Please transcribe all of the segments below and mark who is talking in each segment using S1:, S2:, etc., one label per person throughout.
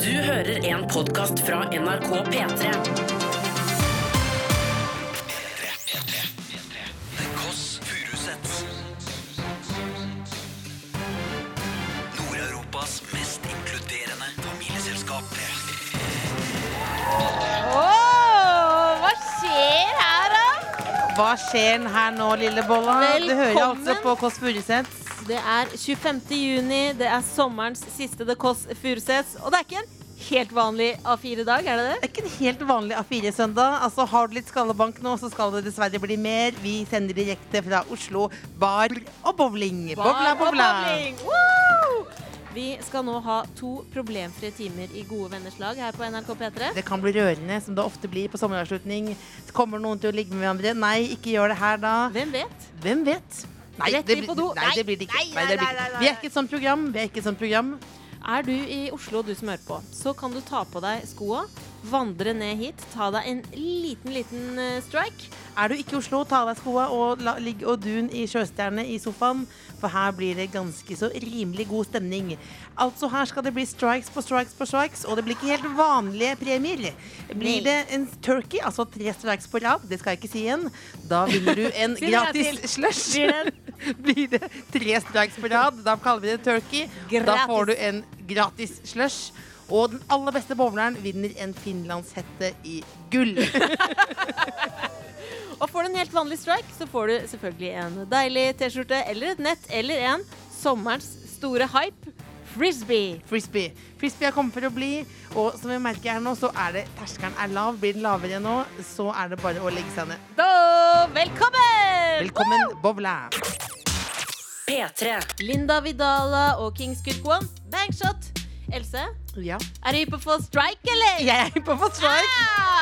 S1: Du hører en podkast fra NRK P3.
S2: The Koss Furusets Nord-Europas mest inkluderende familieselskap
S3: Åh, hva skjer her, da?
S4: Hva skjer her nå, lille bolla? Du hører jo altså
S3: Velkommen.
S4: på Kåss Furuseth.
S3: Det er 25. juni, det er sommerens siste The Kåss Furuseths. Og det er ikke en helt vanlig A4-dag, er det det?
S4: Det er ikke en helt vanlig A4-søndag. Altså, har du litt skallebank nå, så skal det dessverre bli mer. Vi sender direkte fra Oslo. Bar og bowling. Bobla,
S3: Bar og
S4: bobla.
S3: bowling. Woo! Vi skal nå ha to problemfrie timer i gode venners lag her på NRK P3.
S4: Det kan bli rørende, som det ofte blir på sommeravslutning. Kommer noen til å ligge med hverandre? Nei, ikke gjør det her da.
S3: Hvem vet?
S4: Hvem vet? Nei,
S3: Rett
S4: det,
S3: inn
S4: blir-
S3: på do.
S4: nei, det blir det ikke. Nei, det blir det ikke. Vi er ikke et sånt program. Vi er ikke et sånt program.
S3: Er du i Oslo, du som hører på, så kan du ta på deg skoa, vandre ned hit, ta deg en liten, liten eh, strike.
S4: Er du ikke i Oslo, ta av deg skoa og la, ligg og dun i sjøstjerne i sofaen, for her blir det ganske så rimelig god stemning. Altså her skal det bli strikes på strikes på strikes, og det blir ikke helt vanlige premier. Blir
S3: Nei.
S4: det en turkey, altså tre strikes på rad, det skal jeg ikke si igjen, da vinner du en
S3: Si det en gang
S4: gratis
S3: til.
S4: slush.
S3: Blir det
S4: Blir det tre strikes på rad, da kaller vi det turkey. Da
S3: Gratis.
S4: får du en gratis slush. Og den aller beste bowleren vinner en finlandshette i gull.
S3: Og får du en helt vanlig strike, så får du selvfølgelig en deilig T-skjorte eller et nett eller en sommerens store hype frisbee.
S4: Frisbee. Frisbee er kommet for å bli, og som vi merker her nå, så er det terskelen er lav. Blir den lavere nå, så er det bare å legge seg ned.
S3: Da, velkommen!
S4: Velkommen, Bobla.
S1: P3.
S3: Linda Vidala og Kings Good One, bangshot. Else,
S4: Ja.
S3: er du hypp på å få strike, eller?
S4: Jeg er på for strike.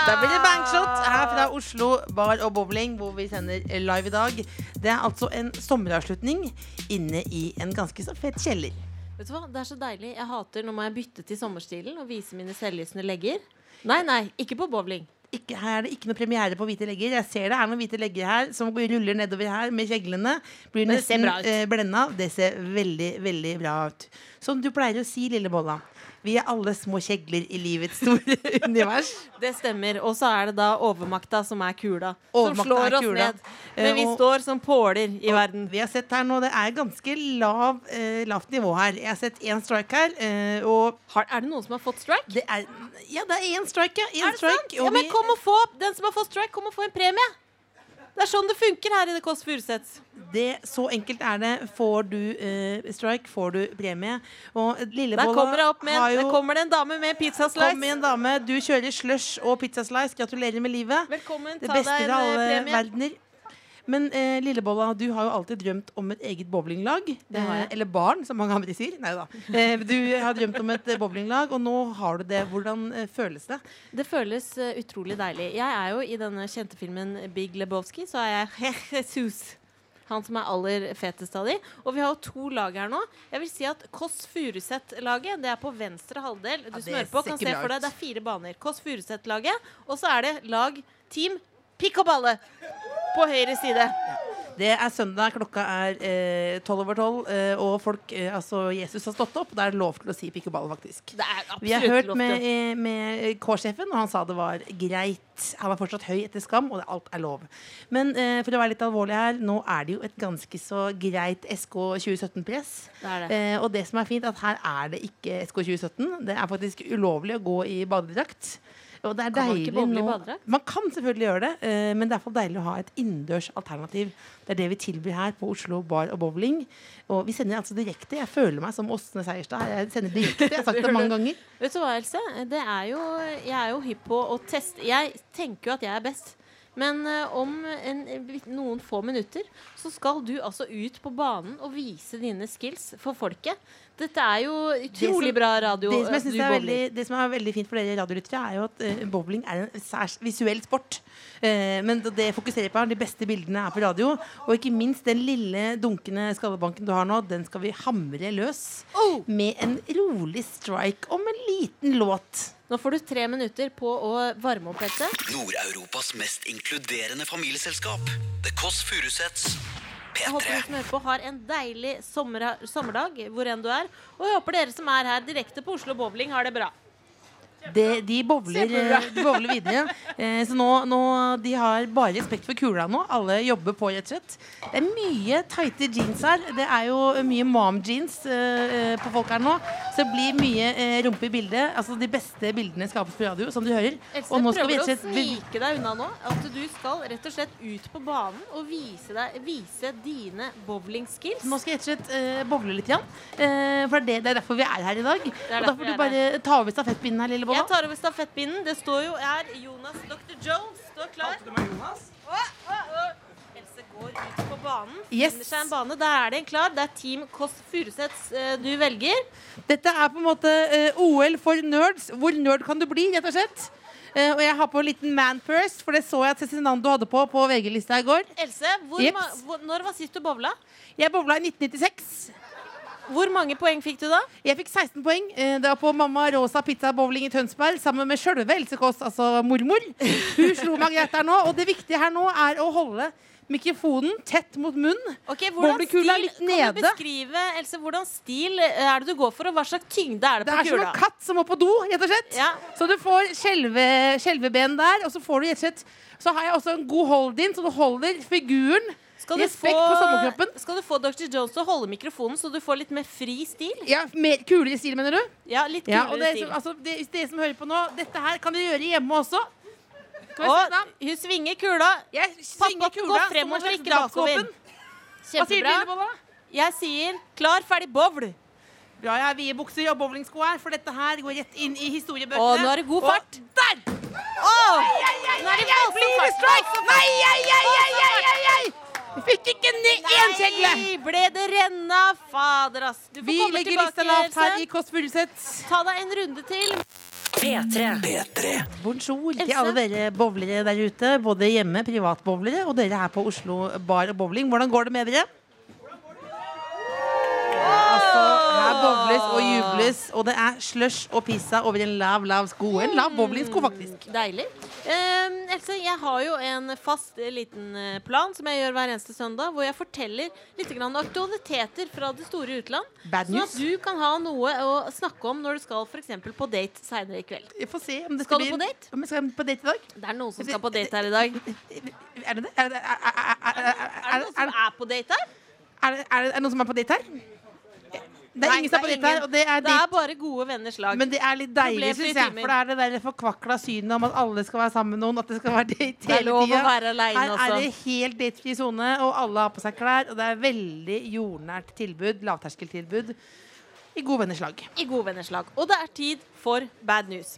S4: Da blir det bangshot her fra Oslo bar og bowling, hvor vi sender live i dag. Det er altså en sommeravslutning inne i en ganske så fet kjeller.
S3: Vet du hva, det er så deilig. Jeg hater Nå må jeg bytte til sommerstilen og vise mine selvlysende legger. Nei, nei, ikke på bowling.
S4: Ikke, her er det ikke noe premiere på hvite legger. Jeg ser det er noen hvite legger her som ruller nedover her med kjeglene. Blir
S3: det ser
S4: nesten
S3: bra ut.
S4: eh, blenda. Det ser veldig, veldig bra ut. Som du pleier å si, lille bolla. Vi er alle små kjegler i livets store univers.
S3: Det stemmer. Og så er det da overmakta som er kula.
S4: Overmakta
S3: som slår
S4: er
S3: oss
S4: kula.
S3: ned. Men vi
S4: Eh, og-
S3: står som påler i verden.
S4: Vi har sett her nå, Det er ganske lav, eh, lavt nivå her. Jeg har sett én strike her. Eh, og
S3: Har, er det noen som har fått strike?
S4: det er Ja, det er én strike, ja. Én
S3: er det sant?
S4: strike.
S3: Ja,
S4: og
S3: men
S4: vi-
S3: kom og få, Den som har fått strike, kom og få en premie! Det er sånn det funker her i The Kåss Furuseths.
S4: det, så enkelt er det. Får du eh, strike, får du premie. Og
S3: Der
S4: Lillebolla
S3: kommer det opp med en, der kommer det en dame med en pizzaslice.
S4: Kom igjen, dame. Du kjører slush og pizzaslice. Gratulerer med livet.
S3: Velkommen.
S4: Det
S3: Ta
S4: beste
S3: deg en
S4: av alle
S3: eh, premie.
S4: verdener. Men eh, Lillebolla, du har jo alltid drømt om et eget bowlinglag.
S3: Det har jeg.
S4: Eh, eller barn, som mange andre sier. Nei da. Eh, du har drømt om et eh, bowlinglag, og nå har du det. Hvordan eh, føles det?
S3: Det føles eh, utrolig deilig. Jeg er jo i denne kjente filmen Big Lebowski, så er jeg Jesus. Han som er aller fetest av de. Og vi har jo to lag her nå. Jeg vil si at Kåss Furuseth-laget det er på venstre halvdel. Du
S4: det
S3: som hører på,
S4: ser
S3: kan
S4: ikke
S3: se
S4: bra
S3: for
S4: ut.
S3: deg det er fire baner. Kåss Furuseth-laget, og så er det lag Team Pikk og Balle på høyre side.
S4: Det er søndag, klokka er tolv over tolv, eh, og folk, eh, altså Jesus har stått opp. Da er det lov til å si pikk og ball, faktisk.
S3: Det er absolutt
S4: Vi har hørt
S3: lov til.
S4: med, eh, med K-sjefen, og han sa det var greit. Han var fortsatt høy etter skam, og det- alt er lov. Men eh, for å være litt alvorlig her, nå er det jo et ganske så greit SK 2017-press.
S3: Det er det.
S4: Eh, og det som er fint, at her er det ikke SK 2017. Det er faktisk ulovlig å gå i badedrakt. Og det er
S3: Kan man
S4: deilig
S3: ikke boble i
S4: nå-
S3: badedrakt?
S4: Man kan selvfølgelig gjøre det, eh, men det er i hvert fall deilig å ha et innendørs alternativ. Det er det vi tilbyr her på Oslo Bar og Bowling. Og vi sender altså direkte. Jeg føler meg som Åsne Seierstad. Jeg sender direkte. Jeg har sagt det mange ganger.
S3: Vet du hva, Else? Det er jo, jeg er jo hypp på å teste. Jeg tenker jo at jeg er best. Men eh, om en, noen få minutter så skal du altså ut på banen og vise dine skills for folket. Dette er jo utrolig
S4: som-
S3: bra radio.
S4: Det som, jeg
S3: at
S4: synes
S3: du
S4: er
S3: bowler.
S4: veldig, det som er veldig fint for dere radiolyttere, er jo at eh, bowling er en særs visuell sport. Eh, men det- det fokuserer på her, de beste bildene er på radio. Og ikke minst den lille dunkende skallebanken du har nå, den skal vi hamre løs
S3: Oh!
S4: med en rolig strike om en liten låt.
S3: Nå får du tre minutter på å varme opp dette.
S2: Nord-Europas mest inkluderende familieselskap The Koss Furusets
S3: Jeg håper dere som hører på har en deilig sommer, sommerdag hvor enn du er. Og jeg håper dere som er her direkte på Oslo Bowling, har det bra.
S4: De, de, bowler,
S3: Kjempebra.
S4: de bowler videre. Eh, så nå, nå, De har bare respekt for kula nå. Alle jobber på, rett og slett. Det er mye tighte jeans her. Det er jo mye mom-jeans eh, eh, på folk her nå. Så det blir mye eh, rumpe i bildet. Altså De beste bildene skapes på radio, som du hører.
S3: Else,
S4: nå
S3: prøver du å
S4: vi-
S3: snike deg unna nå? At du skal rett og slett ut på banen og vise, deg, vise dine bowlingskills?
S4: Nå skal jeg rett og slett eh, boble litt, igjen. Eh, for det er, det, det er derfor vi er her i dag. Og da
S3: derfor vi
S4: får du
S3: er
S4: bare ta over stafettpinnen her, lille Bolla.
S3: Jeg tar over stafettpinnen. Det står jo her Jonas Dr. Jones. Står klar. Kalte du meg Jonas? Else går ut på banen.
S4: Yes.
S3: Finner seg en bane. Der er det en klar. Det er Team Kåss Furuseths eh, du velger.
S4: Dette er på en måte eh, OL for nerds. Hvor nerd kan du bli, rett og slett? Eh, og jeg har på en liten man purse, for det så jeg at Cezinando hadde på på VG-lista i går.
S3: Else, hvor
S4: Jeps.
S3: ma hvor, når var sist du bowla?
S4: Jeg bowla i 1996.
S3: Hvor mange poeng fikk du da?
S4: Jeg fikk 16 poeng. Eh, det var på Mamma Rosa Pizza Bowling i Tønsberg sammen med sjølve Else Kåss, altså mormor. Hun slo meg greit der nå. Og det viktige her nå er å holde mikrofonen tett mot munnen.
S3: Ok, hvordan stil,
S4: Bowlingkula er litt
S3: Kan du
S4: nede.
S3: beskrive Else, hvordan stil eh, er det du går for, og hva slags tyngde er det
S4: Det
S3: på
S4: er som
S3: kula?
S4: en katt som må på do, rett og slett.
S3: Ja.
S4: Så du får skjelve- skjelveben der, og så får du rett og slett Så har jeg også en god hold-in, så du holder figuren.
S3: Skal du,
S4: Respekt på sommerkroppen.
S3: få, skal du få Dr. Jones til å holde mikrofonen, så du får litt mer fri stil?
S4: Ja, mer kulere stil, mener du?
S3: Ja, litt kulere
S4: Ja, og det,
S3: stil.
S4: som, altså, det, hvis dere som hører på nå, dette her kan dere gjøre hjemme også. Skal vi
S3: Og
S4: sette den?
S3: hun svinger kula.
S4: Jeg
S3: Pass
S4: svinger
S3: på, gå
S4: kula, så må
S3: fremover,
S4: jeg
S3: ikke
S4: sette
S3: bakover.
S4: bakåpen. Hva sier du,
S3: Kjempebra.
S4: Lillebolla?
S3: Jeg sier klar, ferdig, bowl.
S4: Bra jeg har vide bukser og bowlingsko her, for dette her går rett inn i historiebøkene.
S3: Å, nå er det god fart.
S4: Og der!
S3: Åh!
S4: Nå
S3: er det voldsom
S4: Blir det
S3: fart.
S4: strike? Nei, ei, ei, ei, ei, ei, ei! Vi fikk ikke ned én kjegle.
S3: Nei, ble det renna? Fader, ass. Du får
S4: Vi
S3: komme
S4: legger lista
S3: tilbake,
S4: lavt her i
S3: Else.
S4: Kåss Furuseth.
S3: Ta deg en runde til.
S1: P3.
S2: P3.
S4: Bonjour til
S3: Else?
S4: alle dere bowlere der ute, både hjemme, privatbowlere, og dere her på Oslo Bar og Bowling. Hvordan går det med dere? Altså, her bowles og jubles, og det er slush og pissa over en lav, lav sko. En lav bowlingsko, faktisk.
S3: Deilig. Eh, Else, jeg har jo en fast eh, liten eh, plan som jeg gjør hver eneste søndag, hvor jeg forteller litt grann aktualiteter fra det store utland.
S4: Bad
S3: Sånn at
S4: news.
S3: du kan ha noe å snakke om når du skal for eksempel på date seinere i kveld.
S4: Vi får se om dette
S3: Skal du
S4: blir-
S3: på date?
S4: Om jeg skal på date i dag?
S3: Det er noen som skal på date her i dag.
S4: Er det det? Er det, er, er, er,
S3: Er
S4: er,
S3: det noen som er på date her?
S4: er, det- er det noen som er på date her? Det er
S3: Nei,
S4: ingen som er på
S3: det er
S4: date her,
S3: ingen.
S4: og det er
S3: Det
S4: date.
S3: er bare gode venners lag.
S4: Men det er litt deilig,
S3: Problemfrie
S4: syns jeg.
S3: timer.
S4: For det er det der forkvakla synet om at alle skal være sammen med noen. At det skal være date
S3: Det er
S4: hele
S3: lov å
S4: tida.
S3: være aleine
S4: Her er det
S3: også.
S4: helt datefri sone, og alle har på seg klær. Og det er veldig jordnært tilbud. Lavterskeltilbud. I god venners lag.
S3: I gode venners lag. Og det er tid for bad news.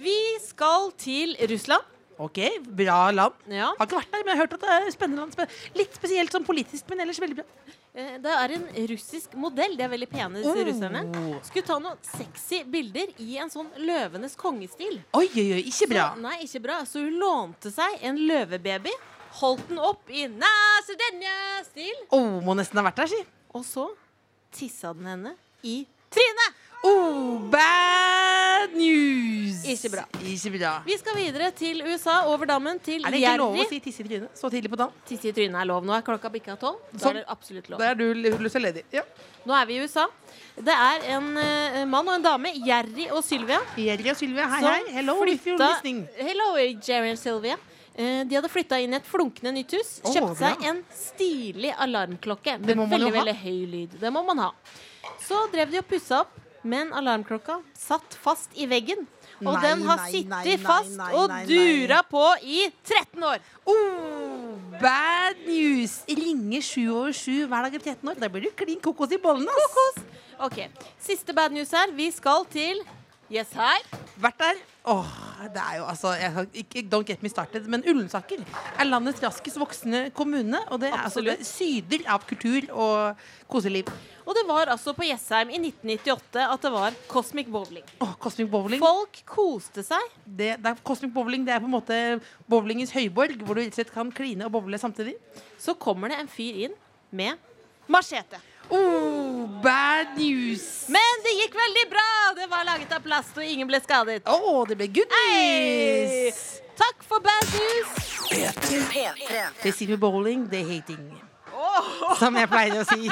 S3: Vi skal til Russland.
S4: OK, bra land.
S3: Ja.
S4: Har ikke vært der, men jeg har hørt at det er spennende land. Spen- Litt spesielt sånn politisk, men ellers veldig bra.
S3: Eh, Det er en russisk modell. De er veldig pene, disse
S4: Oh.
S3: russerne. Skulle ta noen sexy bilder i en sånn løvenes kongestil.
S4: Oi, oi, oi, ikke bra.
S3: Så, nei, ikke bra. Så hun lånte seg en løvebaby. Holdt den opp i nasedenja-stil.
S4: Oh, må nesten ha vært der, si.
S3: Og så tissa den henne i trynet.
S4: Oh, bad news.
S3: Ikke bra.
S4: Ikke bra.
S3: Vi skal videre til USA, over dammen, til
S4: Er det ikke lov å si tisse i trynet så tidlig på dagen?
S3: Tisse i trynet er lov nå. Er klokka bikka tolv? Da
S4: Sånn.
S3: er det absolutt lov.
S4: Da er du løs og ledig. Ja.
S3: Nå er vi i USA. Det er en eh, mann og en dame, Jerry og Sylvia,
S4: Jerry og Sylvia, hei,
S3: som
S4: hei. Hello, if you're
S3: flytta-
S4: listening.
S3: Hello, Jerry and Sylvia. Eh, de hadde flytta inn i et flunkende nytt hus.
S4: Åh,
S3: Kjøpte
S4: bra.
S3: seg en stilig alarmklokke
S4: Det
S3: med
S4: må man jo
S3: veldig
S4: ha.
S3: veldig høy lyd. Det må man ha. Så drev de og pussa opp, men alarmklokka satt fast i veggen. Og
S4: Nei,
S3: den har
S4: nei,
S3: sittet
S4: nei, nei,
S3: fast
S4: nei,
S3: og
S4: nei, nei.
S3: dura på i 13 år.
S4: Oh, bad news! Ringer sju over sju hver dag i 13 år. Da blir du klin kokos i bollen, ass.
S3: Ok, Siste bad news her. Vi skal til Yes, her.
S4: Vært der. Åh, det er jo altså jeg, kan ikke, Don't get me started, men Ullensaker er landets raskest voksende kommune. Og det er altså
S3: Absolutt.
S4: det syder av kultur og koseliv.
S3: Og det var altså på Jessheim i 1998 at det var Cosmic Bowling.
S4: Åh, Cosmic Bowling.
S3: Folk koste seg.
S4: Det, det er, Cosmic Bowling det er på en måte bowlingens høyborg, hvor du rett og slett kan kline og bowle samtidig.
S3: Så kommer det en fyr inn med machete.
S4: Oh, bad news!
S3: Men det gikk veldig bra! Det var laget av plast, og ingen ble skadet.
S4: Å, det ble good
S3: Hei!
S4: news!
S3: Takk for bad news!
S2: P3.
S1: P3.
S4: They see me bowling, they hating me.
S3: Å,
S4: som jeg pleier å si.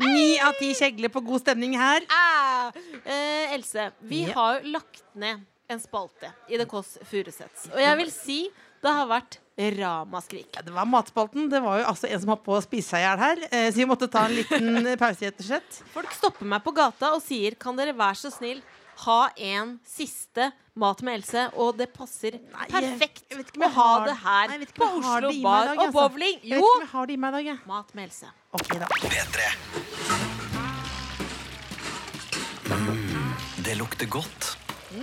S4: Ni av ti kjegler på god stemning her.
S3: Ah! Eh, Else, vi
S4: Ja.
S3: har jo lagt ned en spalte i The Kåss Furuseths. Og jeg vil si det har vært ramaskrik.
S4: Ja, det var matspalten. Det var jo altså en som holdt på å spise seg i hjel her, eh, så vi måtte ta en liten pause, rett og slett.
S3: Folk stopper meg på gata og sier Kan dere være så snill ha en siste Mat med Else, og det passer
S4: Nei, jeg-
S3: perfekt
S4: jeg vet ikke om
S3: å
S4: jeg
S3: ha
S4: har-
S3: det her
S4: Nei, jeg vet ikke
S3: på
S4: om jeg har
S3: Oslo
S4: det i meg i
S3: Bar
S4: dag, altså.
S3: og bowling.
S4: Jeg vet
S3: Jo!
S4: ikke om jeg har det i meg i dag, jeg.
S3: Mat med Else.
S4: Ok, da.
S2: P3. Mm, Det lukter godt.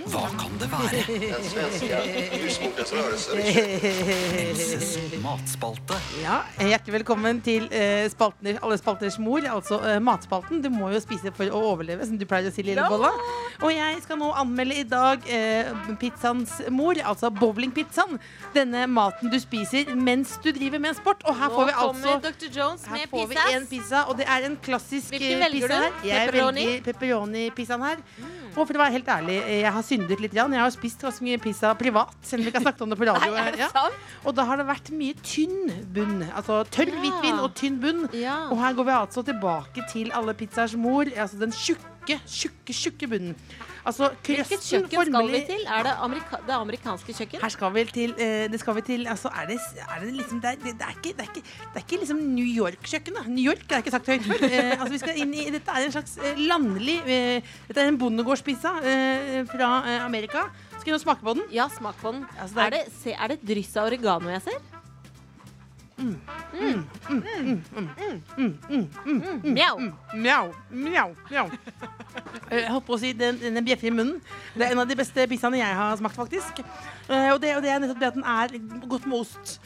S2: Hva kan det være?
S5: Den svenska husmorens rörelser.
S2: Elses matspalte.
S4: Ja, Hjertelig velkommen til eh, spalten, Alle spalters mor, altså eh, matspalten. Du må jo spise for å overleve, som du pleier å si, Lillebolla. Og jeg skal nå anmelde i dag eh, pizzaens mor, altså bowlingpizzaen. Denne maten du spiser mens du driver med sport. Og her
S3: Nå
S4: får vi
S3: kommer
S4: altså
S3: Dr. Jones
S4: her
S3: med
S4: får vi en
S3: pizzas.
S4: pizza, og det er en klassisk
S3: Hvilken
S4: eh,
S3: velger
S4: pizza
S3: du?
S4: her. Jeg
S3: Pepperoni? Mm.
S4: velger pepperoni-pizzaen her. Og for å være helt ærlig, eh, jeg har syndet litt. grann. Jeg har spist ganske mye pizza privat, selv om vi ikke har snakket om det på radio.
S3: Nei, er det
S4: Ja.
S3: sant?
S4: Og da har det vært mye tynn bunn. Altså tørr
S3: Ja.
S4: hvitvin og tynn bunn.
S3: Ja.
S4: Og her går vi altså tilbake til alle pizzaers mor. Altså den tjukke, tjukke, tjukke bunnen. Altså
S3: Hvilket
S4: krøsten
S3: kjøkken skal vi
S4: formelig
S3: til? Er det amerika det amerikanske kjøkken?
S4: her skal vi til, eh, det skal vi til altså, er det, er det, liksom, det, er, det, er ikke, det, er ikke, det er ikke liksom New York-kjøkkenet. New York det er ikke sagt høyt før. Eh, altså, vi skal inn i, dette er en slags eh, landlig eh, Dette er en bondegårdspizza eh, fra eh, Amerika. Skal vi nå smake på den?
S3: Ja, smak på den.
S4: Altså, det er-
S3: er, det, se, er det dryss av oregano jeg ser?
S4: Mm.
S3: Mm.
S4: Mm.
S3: Mjau.
S4: Mjau, mjau, mjau. Eh, Jeg holdt på å si den, den bjeffer i munnen. Det er en av de beste pizzaene jeg har smakt, faktisk. Eh, Og det, og det er nettopp det at den er godt med ost.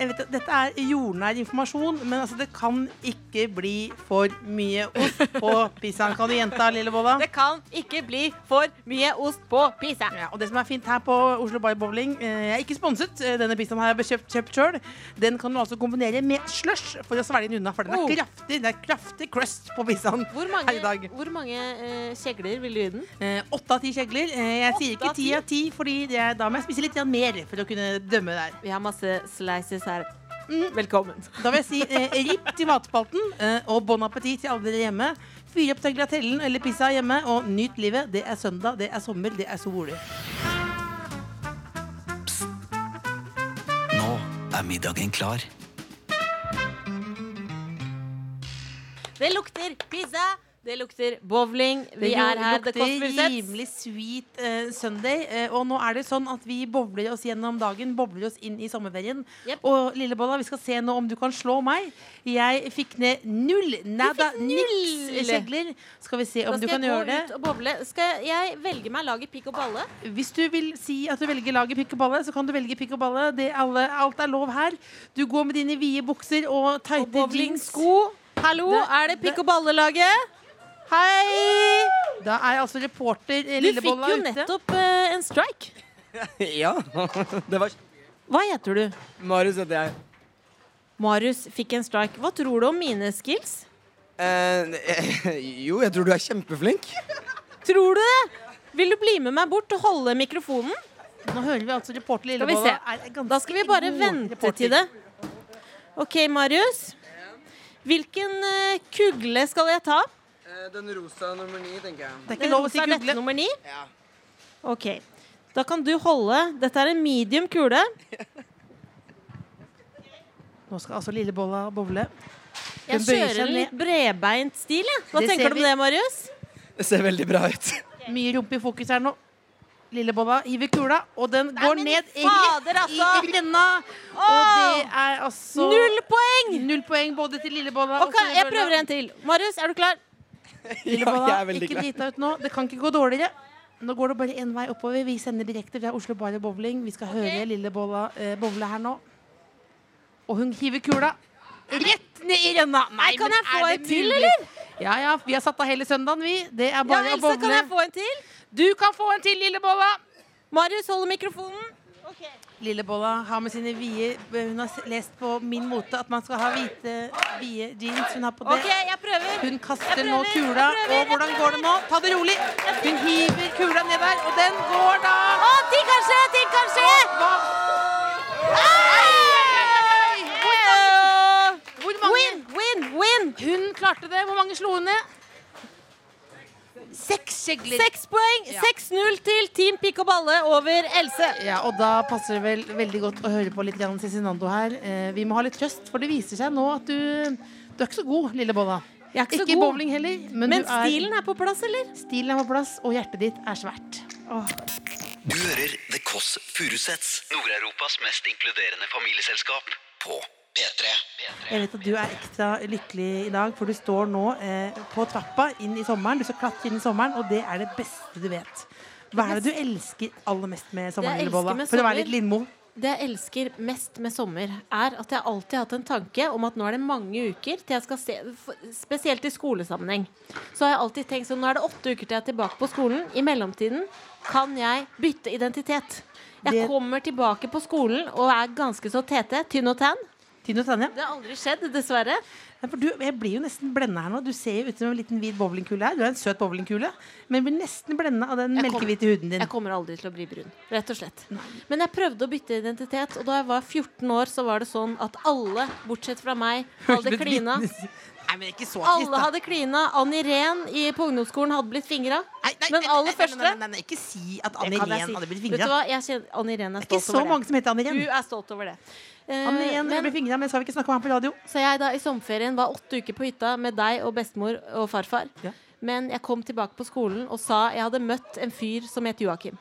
S4: Jeg vet, at dette er jordnær informasjon, men altså, det kan ikke bli for mye ost på pizzaen. Kan du gjenta, lille Bolla?
S3: Det kan ikke bli for mye ost på pizza.
S4: Ja, og det som er fint her på Oslo Bar Bowling eh, Jeg er ikke sponset. eh, Denne pizzaen har jeg kjøpt, kjøpt sjøl. Den kan du altså kombinere med slush for å svelge den unna, for den er
S3: Oh.
S4: kraftig. Det er kraftig crust på pizzaen
S3: Hvor
S4: her i dag.
S3: mange, hvor mange eh, kjegler vil du gi den?
S4: Eh, Åtte av ti kjegler. Eh, jeg
S3: Åtte
S4: sier ikke
S3: av
S4: ti
S3: ti?
S4: av ti, Fordi det, da må jeg spise litt grann mer for å kunne dømme der.
S3: Vi har masse slices her. Mm. Velkommen.
S4: Da vil jeg si eh, ripp til matspalten eh, og bon appétit til alle dere hjemme. Fyr opp tagliatellen eller pizza hjemme, og nyt livet. Det er søndag, det er sommer, det er sol.
S2: Nå er middagen klar.
S3: Det lukter pizza. Det lukter bowling. Vi
S4: jo-
S3: er her. Det
S4: lukter
S3: koster Furuseths.
S4: rimelig sweet eh, Sunday. eh, og nå er det sånn at vi bobler oss gjennom dagen, bobler oss inn i sommerferien.
S3: Jep.
S4: Og Lillebolla, vi skal se nå om du kan slå meg. Jeg fikk ned null. Nada,
S3: fikk
S4: niks
S3: null!
S4: kjegler. Skal vi se
S3: Da
S4: om du
S3: skal
S4: kan
S3: jeg
S4: gjøre
S3: gå ut
S4: det.
S3: og boble. Skal jeg velge meg laget pikk og balle?
S4: Hvis du vil si at du velger laget pikk og balle, så kan du velge pikk og balle. Det er alle, alt er lov her. Du går med dine vide bukser og
S3: Og
S4: tighte jeans.
S3: bowlingsko. Hallo,
S4: Det-
S3: er det
S4: det-
S3: pikk og balle-laget? Hei!
S4: Da er altså reporter eh,
S3: Du fikk
S4: Lillebolla
S3: jo
S4: ute.
S3: nettopp eh, en strike.
S6: Ja. Det var
S3: Hva heter du?
S6: Marius heter jeg.
S3: Marius fikk en strike. Hva tror du om mine skills?
S6: Eh, jo, jeg tror du er kjempeflink.
S3: Tror du det? Vil du bli med meg bort og holde mikrofonen?
S4: Nå hører vi altså reporter
S3: Skal vi se.
S4: Lillebolla. er ganske
S3: Da skal vi bare
S4: god
S3: vente
S4: reporter.
S3: til det. OK, Marius. Hvilken eh, kugle skal jeg ta?
S6: den rosa nummer ni, tenker jeg.
S4: Det er ikke lov å si
S3: Rosa er dette
S4: kugle.
S3: nummer ni?
S6: Ja.
S3: OK. Da kan du holde. Dette er en medium kule.
S4: Nå skal altså lillebolla bowle.
S3: Jeg
S4: Den bøyer
S3: kjører
S4: seg
S3: en
S4: ned.
S3: litt bredbeint stil, jeg. Hva
S4: Det ser
S3: tenker du
S4: vi.
S3: om det, Marius?
S6: Det ser veldig bra ut.
S4: Mye rumpe i fokus her nå. Lillebolla hiver kula, og den går
S3: men
S4: ned
S3: fader,
S4: rett
S3: altså!
S4: i renna. Og det er altså
S3: Null poeng!
S4: null poeng både til lillebolla
S3: OK, jeg prøver en til. Marius, er du klar?
S4: Lillebolla,
S6: jeg er veldig
S4: ikke
S6: glad.
S4: drita ut nå. Det kan ikke gå dårligere. Nå går det bare én vei oppover. Vi sender direkte fra Oslo Bar og Bowling. Vi skal høre lillebolla eh, bowle her nå. Og hun hiver kula rett ned i renna. Nei,
S3: Kan
S4: men
S3: jeg få
S4: er
S3: en
S4: det
S3: til,
S4: mulig?
S3: eller?
S4: Ja, ja, vi har satt av hele søndagen, vi. Det er
S3: Ja,
S4: bare å
S3: Else,
S4: bowle.
S3: kan jeg få en til?
S4: Du kan få en til, Lillebolla.
S3: Marius holder mikrofonen. Okay.
S4: Lillebolla har med sine vide Hun har s- lest på min mote at man skal ha hvite, vide jeans. Hun har på det.
S3: OK, jeg prøver.
S4: Hun kaster
S3: Jeg
S4: nå
S3: prøver, jeg
S4: kula.
S3: prøver,
S4: Og hvordan
S3: jeg
S4: går det nå? Ta det rolig. Hun hiver kula ned der, og den går da
S3: Å, ting kan skje, ting kan skje!
S4: Hva?
S3: Hvor mange,
S4: Hvor mange klarte det. Hvor mange slo hun ned? Seks kjegler.
S3: Seks poeng! 6-0 til Team Pikk og Balle over Else.
S4: Ja, og da passer det vel veldig godt å høre på litt grann Cezinando her. Eh, vi må ha litt trøst, for det viser seg nå at du, du er ikke så god, lille Bolla.
S3: Jeg er ikke så
S4: i
S3: god.
S4: bowling heller, men,
S3: Men
S4: du er,
S3: stilen er på plass, eller?
S4: stilen er på plass, og hjertet ditt er svært.
S2: Du hører The Kåss Furuseths. Nord-Europas mest inkluderende familieselskap. På P3.
S4: Jeg vet at du er ekstra lykkelig i dag, for du står nå eh, på trappa inn i sommeren. Du skal klatre inn i sommeren, og det er det beste du vet. Hva er det du elsker aller mest med sommeren,
S3: Det jeg
S4: lille Bolla?
S3: elsker med
S4: For å
S3: sommer-
S4: være litt Lindmo.
S3: Det jeg elsker mest med sommer, er at jeg alltid har hatt en tanke om at nå er det mange uker til jeg skal se for- Spesielt i skolesammenheng. Så har jeg alltid tenkt sånn, nå er det åtte uker til jeg er tilbake på skolen. I mellomtiden kan jeg bytte identitet. Jeg
S4: Det-
S3: kommer tilbake på skolen og er ganske så tete. Tynn og tan.
S4: Tine og Tanja.
S3: Det har aldri skjedd, dessverre.
S4: Nei, for du, jeg blir jo nesten blenda her nå. Du ser jo ut som en liten hvit bowlingkule her. Du er en søt bowlingkule, men blir nesten blenda av den
S3: Jeg kom-
S4: melkehvite huden din.
S3: Jeg kommer aldri til å bli brun. Rett og slett. Men jeg prøvde å bytte identitet, og da jeg var 14 år, så var det sånn at alle, bortsett fra meg, hadde klina.
S4: Nei, men ikke så trist,
S3: Alle
S4: da.
S3: hadde klina. Ann Irén i- på ungdomsskolen hadde blitt fingra.
S4: Nei, nei,
S3: Men
S4: nei, nei,
S3: aller
S4: nei, nei, Nei,
S3: første-
S4: nei, nei, ikke si at
S3: Det
S4: Anne
S3: kan jeg
S4: Irén
S3: si.
S4: hadde blitt
S3: Vet du
S4: fingra.
S3: hva? Jeg kjenner, Ann Irén er
S4: Det er ikke
S3: stolt
S4: så
S3: over
S4: mange
S3: det.
S4: som heter Anne
S3: Du
S4: Irén.
S3: er stolt over det. Eh,
S4: Anne Irén
S3: men-
S4: ble fingra, men så har vi ikke snakka om ham på radio.
S3: så jeg da i sommerferien var åtte uker på hytta med deg og bestemor og farfar.
S4: Ja.
S3: Men jeg kom tilbake på skolen og sa jeg hadde møtt en fyr som het Joakim.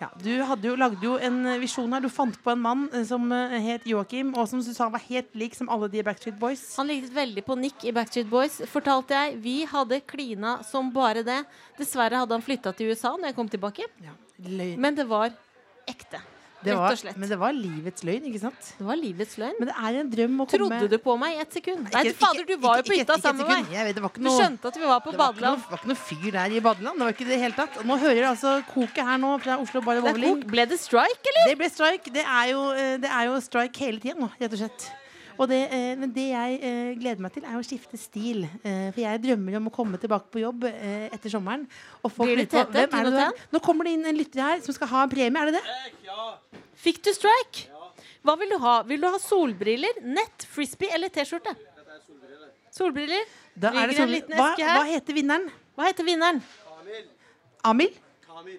S4: Ja, du hadde jo, lagde jo en eh, visjon her. Du fant på en mann eh, som eh, het Joakim, og som du sa var helt lik som alle de Backstreet Boys.
S3: Han likte veldig på Nick i Backstreet Boys, fortalte jeg. Vi hadde klina som bare det. Dessverre hadde han flytta til USA når jeg kom tilbake,
S4: Ja, løgn.
S3: men det var ekte.
S4: det
S3: Rett
S4: var,
S3: og slett.
S4: men det var livets løgn, ikke sant?
S3: Det var livets løgn.
S4: Men det er en drøm å komme
S3: Trodde du på meg i ett sekund? Nei, du fader, du var jo på hytta sammen med meg.
S4: Jeg vet, det var ikke
S3: Du
S4: noe,
S3: skjønte at vi var på
S4: det var ikke noe,
S3: badeland.
S4: det var ikke noe fyr der i badeland. Det var ikke det i det hele tatt. Og nå hører jeg altså koket her nå fra Oslo Bar og
S3: Det er
S4: Bowling.
S3: kok. Ble det strike, eller?
S4: Det ble strike. Det er jo, eh, det er jo strike hele tida nå, rett og slett. Og det, eh, men det jeg eh, gleder meg til, er å skifte stil. Eh, For jeg drømmer om å komme tilbake på jobb eh, etter sommeren. Og folk
S3: Blir det
S4: lurer på,
S3: Tete?
S4: hvem er
S3: Tine
S4: det du er?
S3: Tan?
S4: Nå kommer det inn en lytter her som skal ha en premie, er det det?
S3: Fikk du strike? Hva vil du ha? Vil du ha solbriller, nett, frisbee eller T-skjorte? Solbriller.
S4: Da er
S3: Ligger en
S4: det sånn-
S3: liten
S4: hva,
S3: eske
S4: hva
S3: her.
S4: heter vinneren?
S3: Hva heter vinneren?
S4: Amil?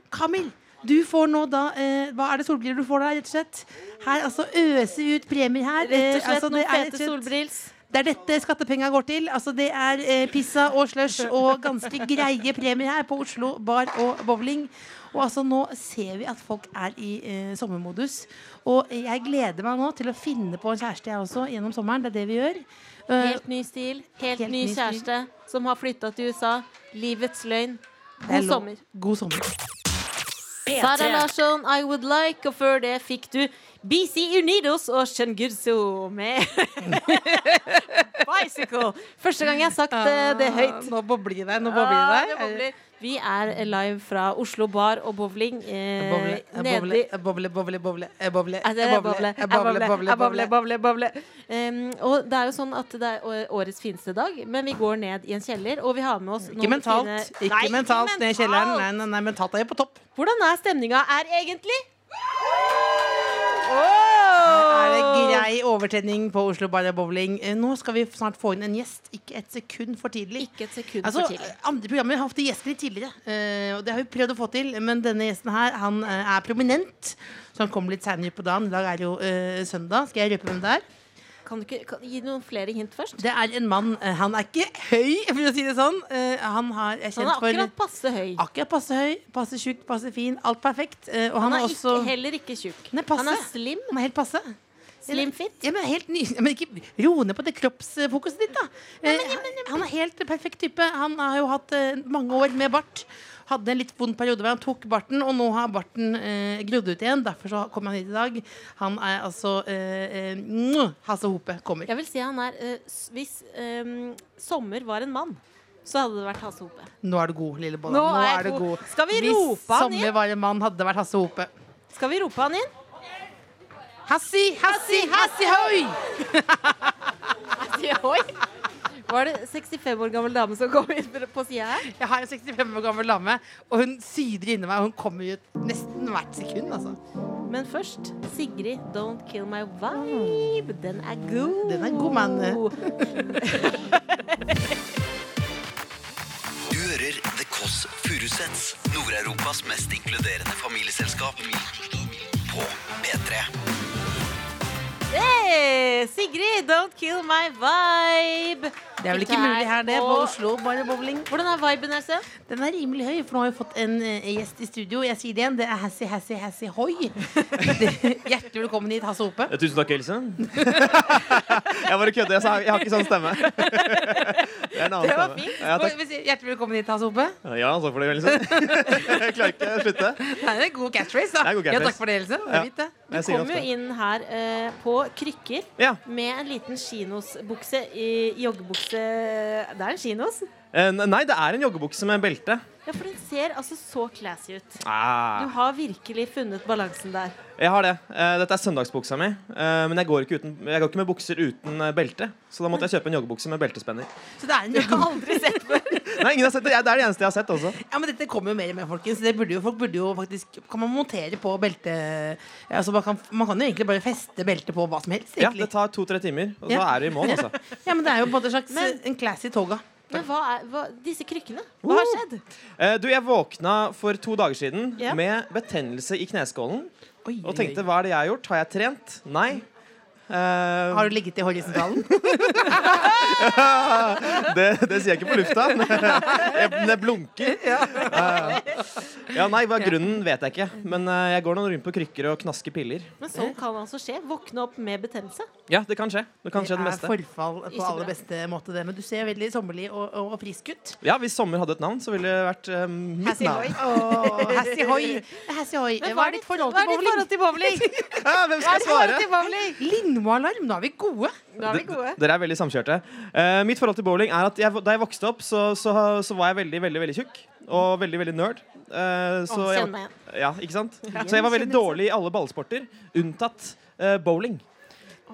S4: Kamil. Du får nå da eh, Hva er det solbriller du får da, rett og slett? Her, altså, øse ut premier her.
S3: Rett og
S4: Eh, altså,
S3: slett
S4: det
S3: noen
S4: er rett og
S3: fete
S4: slett-
S3: solbrills.
S4: Det er dette skattepenga går til. Altså Det er eh, pizza og slush og ganske greie premier her på Oslo Bar og Bowling. Og altså nå ser vi at folk er i eh, sommermodus. Og jeg gleder meg nå til å finne på en kjæreste, jeg også, gjennom sommeren. Det er det vi gjør. Eh,
S3: Helt ny stil, helt, ny, kjæreste som har flytta til USA. Livets løgn.
S4: det er
S3: God
S4: lov.
S3: sommer.
S4: God sommer.
S3: Sara
S1: P3.
S3: Larsson, I Would Like, og før det fikk du BC Unidos og Shengurso med Bicycle. Første gang jeg har sagt eh, det høyt.
S4: Nå bobler det deg. Nå
S3: Ah,
S4: bobler
S3: det
S4: det deg.
S3: bobler. Vi er live fra Oslo bar og bowling. Eh, Altså, nedi
S4: Boble, boble, boble, boble, boble, boble,
S3: Er det boble?
S4: eh,
S3: Er boble, er boble, boble, boble. Em, og det er jo sånn at det er å- årets fineste dag, men vi går ned i en kjeller, og vi har med oss
S4: Ikke mentalt.
S3: fine- Nei,
S4: Ikke mentalt ned i kjelleren. Nei,
S3: mentalt.
S4: nei, nei, mentalt er jo på topp.
S3: Hvordan er stemninga er egentlig?
S4: Er det grei overtenning på Oslo Bar og Bowling? Eh, Nå skal vi snart få inn en gjest. Ikke et sekund for tidlig.
S3: Ikke et sekund
S4: Altså,
S3: for tidlig.
S4: Andre programmer har hatt gjester litt tidligere, eh, og det har vi prøvd å få til. Men denne gjesten her, han eh, er prominent, så han kommer litt seinere på dagen. I dag er det jo eh, søndag. Skal jeg røpe hvem det er?
S3: Kan du ikke kan, gi noen flere hint først?
S4: Det er en mann. eh, Han er ikke høy, for å si det sånn. Eh, Han har, er
S3: Han
S4: kjent
S3: er
S4: for
S3: akkurat passe høy.
S4: Akkurat passe høy, passe tjukk, passe fin. Alt perfekt. Eh, Og han,
S3: Han er
S4: er også
S3: ikke, heller ikke tjukk.
S4: Nei, passe.
S3: Han er slim.
S4: Han er helt passe.
S3: Slim fit.
S4: Ja, men helt ny, ja, men ikke ro ned på det kroppsfokuset ditt, da. Eh, Han er helt perfekt type. Han har jo hatt eh, mange år med bart. Hadde en litt vond periode hvor han tok barten, og nå har barten eh, grodd ut igjen. Derfor så kom han hit i dag. Han er altså eh, eh, mwah, Hasse Hope kommer.
S3: Jeg vil si han er eh, s- Hvis eh, sommer var en mann, så hadde det vært Hasse Hope.
S4: Nå er du god, lille Bolla.
S3: Nå er jeg
S4: du
S3: god. Skal vi rope
S4: Hvis
S3: han inn?
S4: sommer var en mann, hadde det vært Hasse Hope.
S3: Skal vi rope han inn?
S4: Hassi, hassi, hassi, høy!
S3: Oi! Var det 65 år gammel dame som kom inn på sida her?
S4: Jeg har en 65 år gammel dame, og hun syder inni meg. og Hun kommer ut nesten hvert sekund, altså.
S3: Men først Sigrid, Don't Kill My Vibe. Den er god.
S4: Den er god, mann.
S2: Furuseths. Nord-Europas mest inkluderende familieselskap. På P3.
S3: Hey, Sigrid, don't kill my vibe.
S4: Det er vel ikke mulig her, det. På Oslo bare bowling.
S3: Hvordan er viben her, Sem?
S4: Den er rimelig høy, for nå har vi fått en eh, gjest i studio. Jeg sier det igjen, det er Hassi Hassi Hassi Hoi. Hjertelig velkommen hit, Hasse Hope.
S7: Ja, Tusen takk, Else. jeg bare kødder. Jeg, sa, jeg har ikke sånn stemme. Det er en annen
S4: Det var
S7: stemme.
S4: fint.
S7: Ja, takk.
S4: Vi sier Hjertelig velkommen hit, Hasse Hope.
S7: Ja, takk for det, Else. jeg klarer ikke å slutte.
S4: Nei, det er god catchphrase, da.
S7: Det er god
S4: Ja,
S7: catchphrase.
S4: takk for det, Else. Det
S7: Ja.
S4: er fint, det.
S7: Jeg sier
S3: Kom jo
S7: ofte.
S3: inn her eh, på krykker
S7: Ja.
S3: med en liten kinosbukse i joggebukse Det er en kinos.
S7: Eh, Nei, det er en joggebukse med belte.
S3: Ja, for den ser altså så classy ut. Du
S7: Ah,
S3: har virkelig funnet balansen der.
S7: jeg har det. Eh, Dette er søndagsbuksa mi. Eh, Men jeg går, ikke uten, jeg går ikke med bukser uten eh, belte. Så da måtte jeg kjøpe en joggebukse med beltespenner.
S4: Så det er en
S3: Jeg har aldri sett før.
S7: Nei, ingen har sett det. Jeg- Det er det eneste jeg har sett altså. også.
S4: Ja, men dette kommer jo mer og mer, folkens. Det burde jo, folk burde jo faktisk Kan man montere på belte altså, man, kan, man kan jo egentlig bare feste beltet på hva som helst,
S7: Ja, det
S4: egentlig.
S7: tar to-tre timer, og da
S4: Ja.
S7: er du i mål, altså.
S4: Ja, men det er jo på en måte en slags
S3: Men-
S4: en classy toga.
S3: Men hva er hva, disse krykkene? Hva har skjedd?
S7: Eh, Du, jeg våkna for to dager siden
S3: Ja.
S7: med betennelse i kneskålen.
S4: Oi,
S7: Og tenkte, hva er det jeg har gjort? Har jeg trent? Nei.
S4: oi.
S7: Eh,
S4: Har du ligget i horisontalen?
S7: det, det sier jeg ikke på lufta. men Jeg, men jeg blunker. Eh, ja, nei, hva er grunnen vet jeg ikke. Men eh, jeg går noen rundt på krykker og knasker piller.
S3: Men sånn kan altså skje. Våkne opp med betennelse.
S7: Ja, det kan skje. Det kan skje det
S4: er
S7: meste.
S4: forfall på
S3: bra.
S4: aller beste måte, det. Men du ser veldig sommerlig og, og, og frisk ut.
S7: Ja, Hvis sommer hadde et navn, så ville det vært eh, mitt
S4: Hassi hoi.
S7: navn.
S4: Åh, Hassi hoi. Hassi hoi.
S3: Men
S4: Hva er ditt forhold til bowling?
S3: til bowling?
S7: Ja, hvem skal
S3: forhold
S7: svare?
S3: til bowling?
S4: Lindmo-alarm, nå er vi gode.
S3: Nå er vi gode.
S7: D- Dere er veldig samkjørte. Eh, mitt forhold til bowling er at jeg, da jeg vokste opp, så, så, så var jeg veldig veldig, veldig tjukk. Og veldig veldig nerd. Eh, så
S3: Å,
S7: jeg,
S3: kjenn meg igjen.
S7: ja, ikke sant? Så jeg var veldig dårlig i alle ballsporter, unntatt eh, bowling.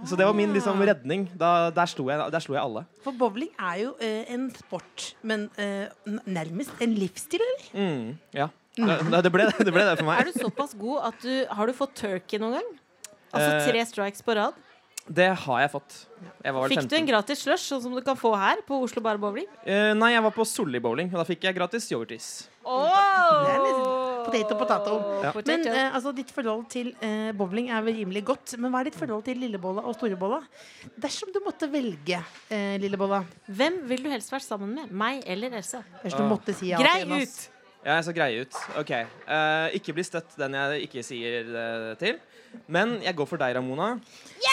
S7: Så det var min liksom, redning. Da, der, slo jeg, der slo jeg alle.
S4: For bowling er jo eh, en sport, men eh, n- nærmest en livsstil, eller?
S7: Mm, ja. Det, det, ble, det ble det for
S3: Er
S7: meg.
S3: du såpass god at du Har du fått turkey noen gang?
S7: Eh,
S3: Altså tre strikes på rad?
S7: Det har jeg fått. Jeg var vel
S3: Fikk du en
S7: 15.
S3: gratis slush, sånn som du kan få her på Oslo Bare Bowling?
S7: Eh, nei, jeg var på Solli bowling, og da fikk jeg gratis yoghurtis.
S4: Det er litt potato, potato.
S7: Ja.
S3: Potato.
S4: Men eh, altså, ditt forhold til eh, bowling er vel rimelig godt. Men hva er ditt forhold til lillebolla og storebolla? Dersom du måtte velge eh, lillebolla
S3: Hvem vil du helst vært sammen med? Meg eller Else?
S4: Dersom
S7: Ah.
S4: du måtte si ja
S3: Grei
S4: til en av
S3: ut!
S4: oss.
S7: Ja, jeg så grei ut. Ok. Eh, ikke bli støtt den jeg ikke sier det til. Men jeg går for deg, Ramona.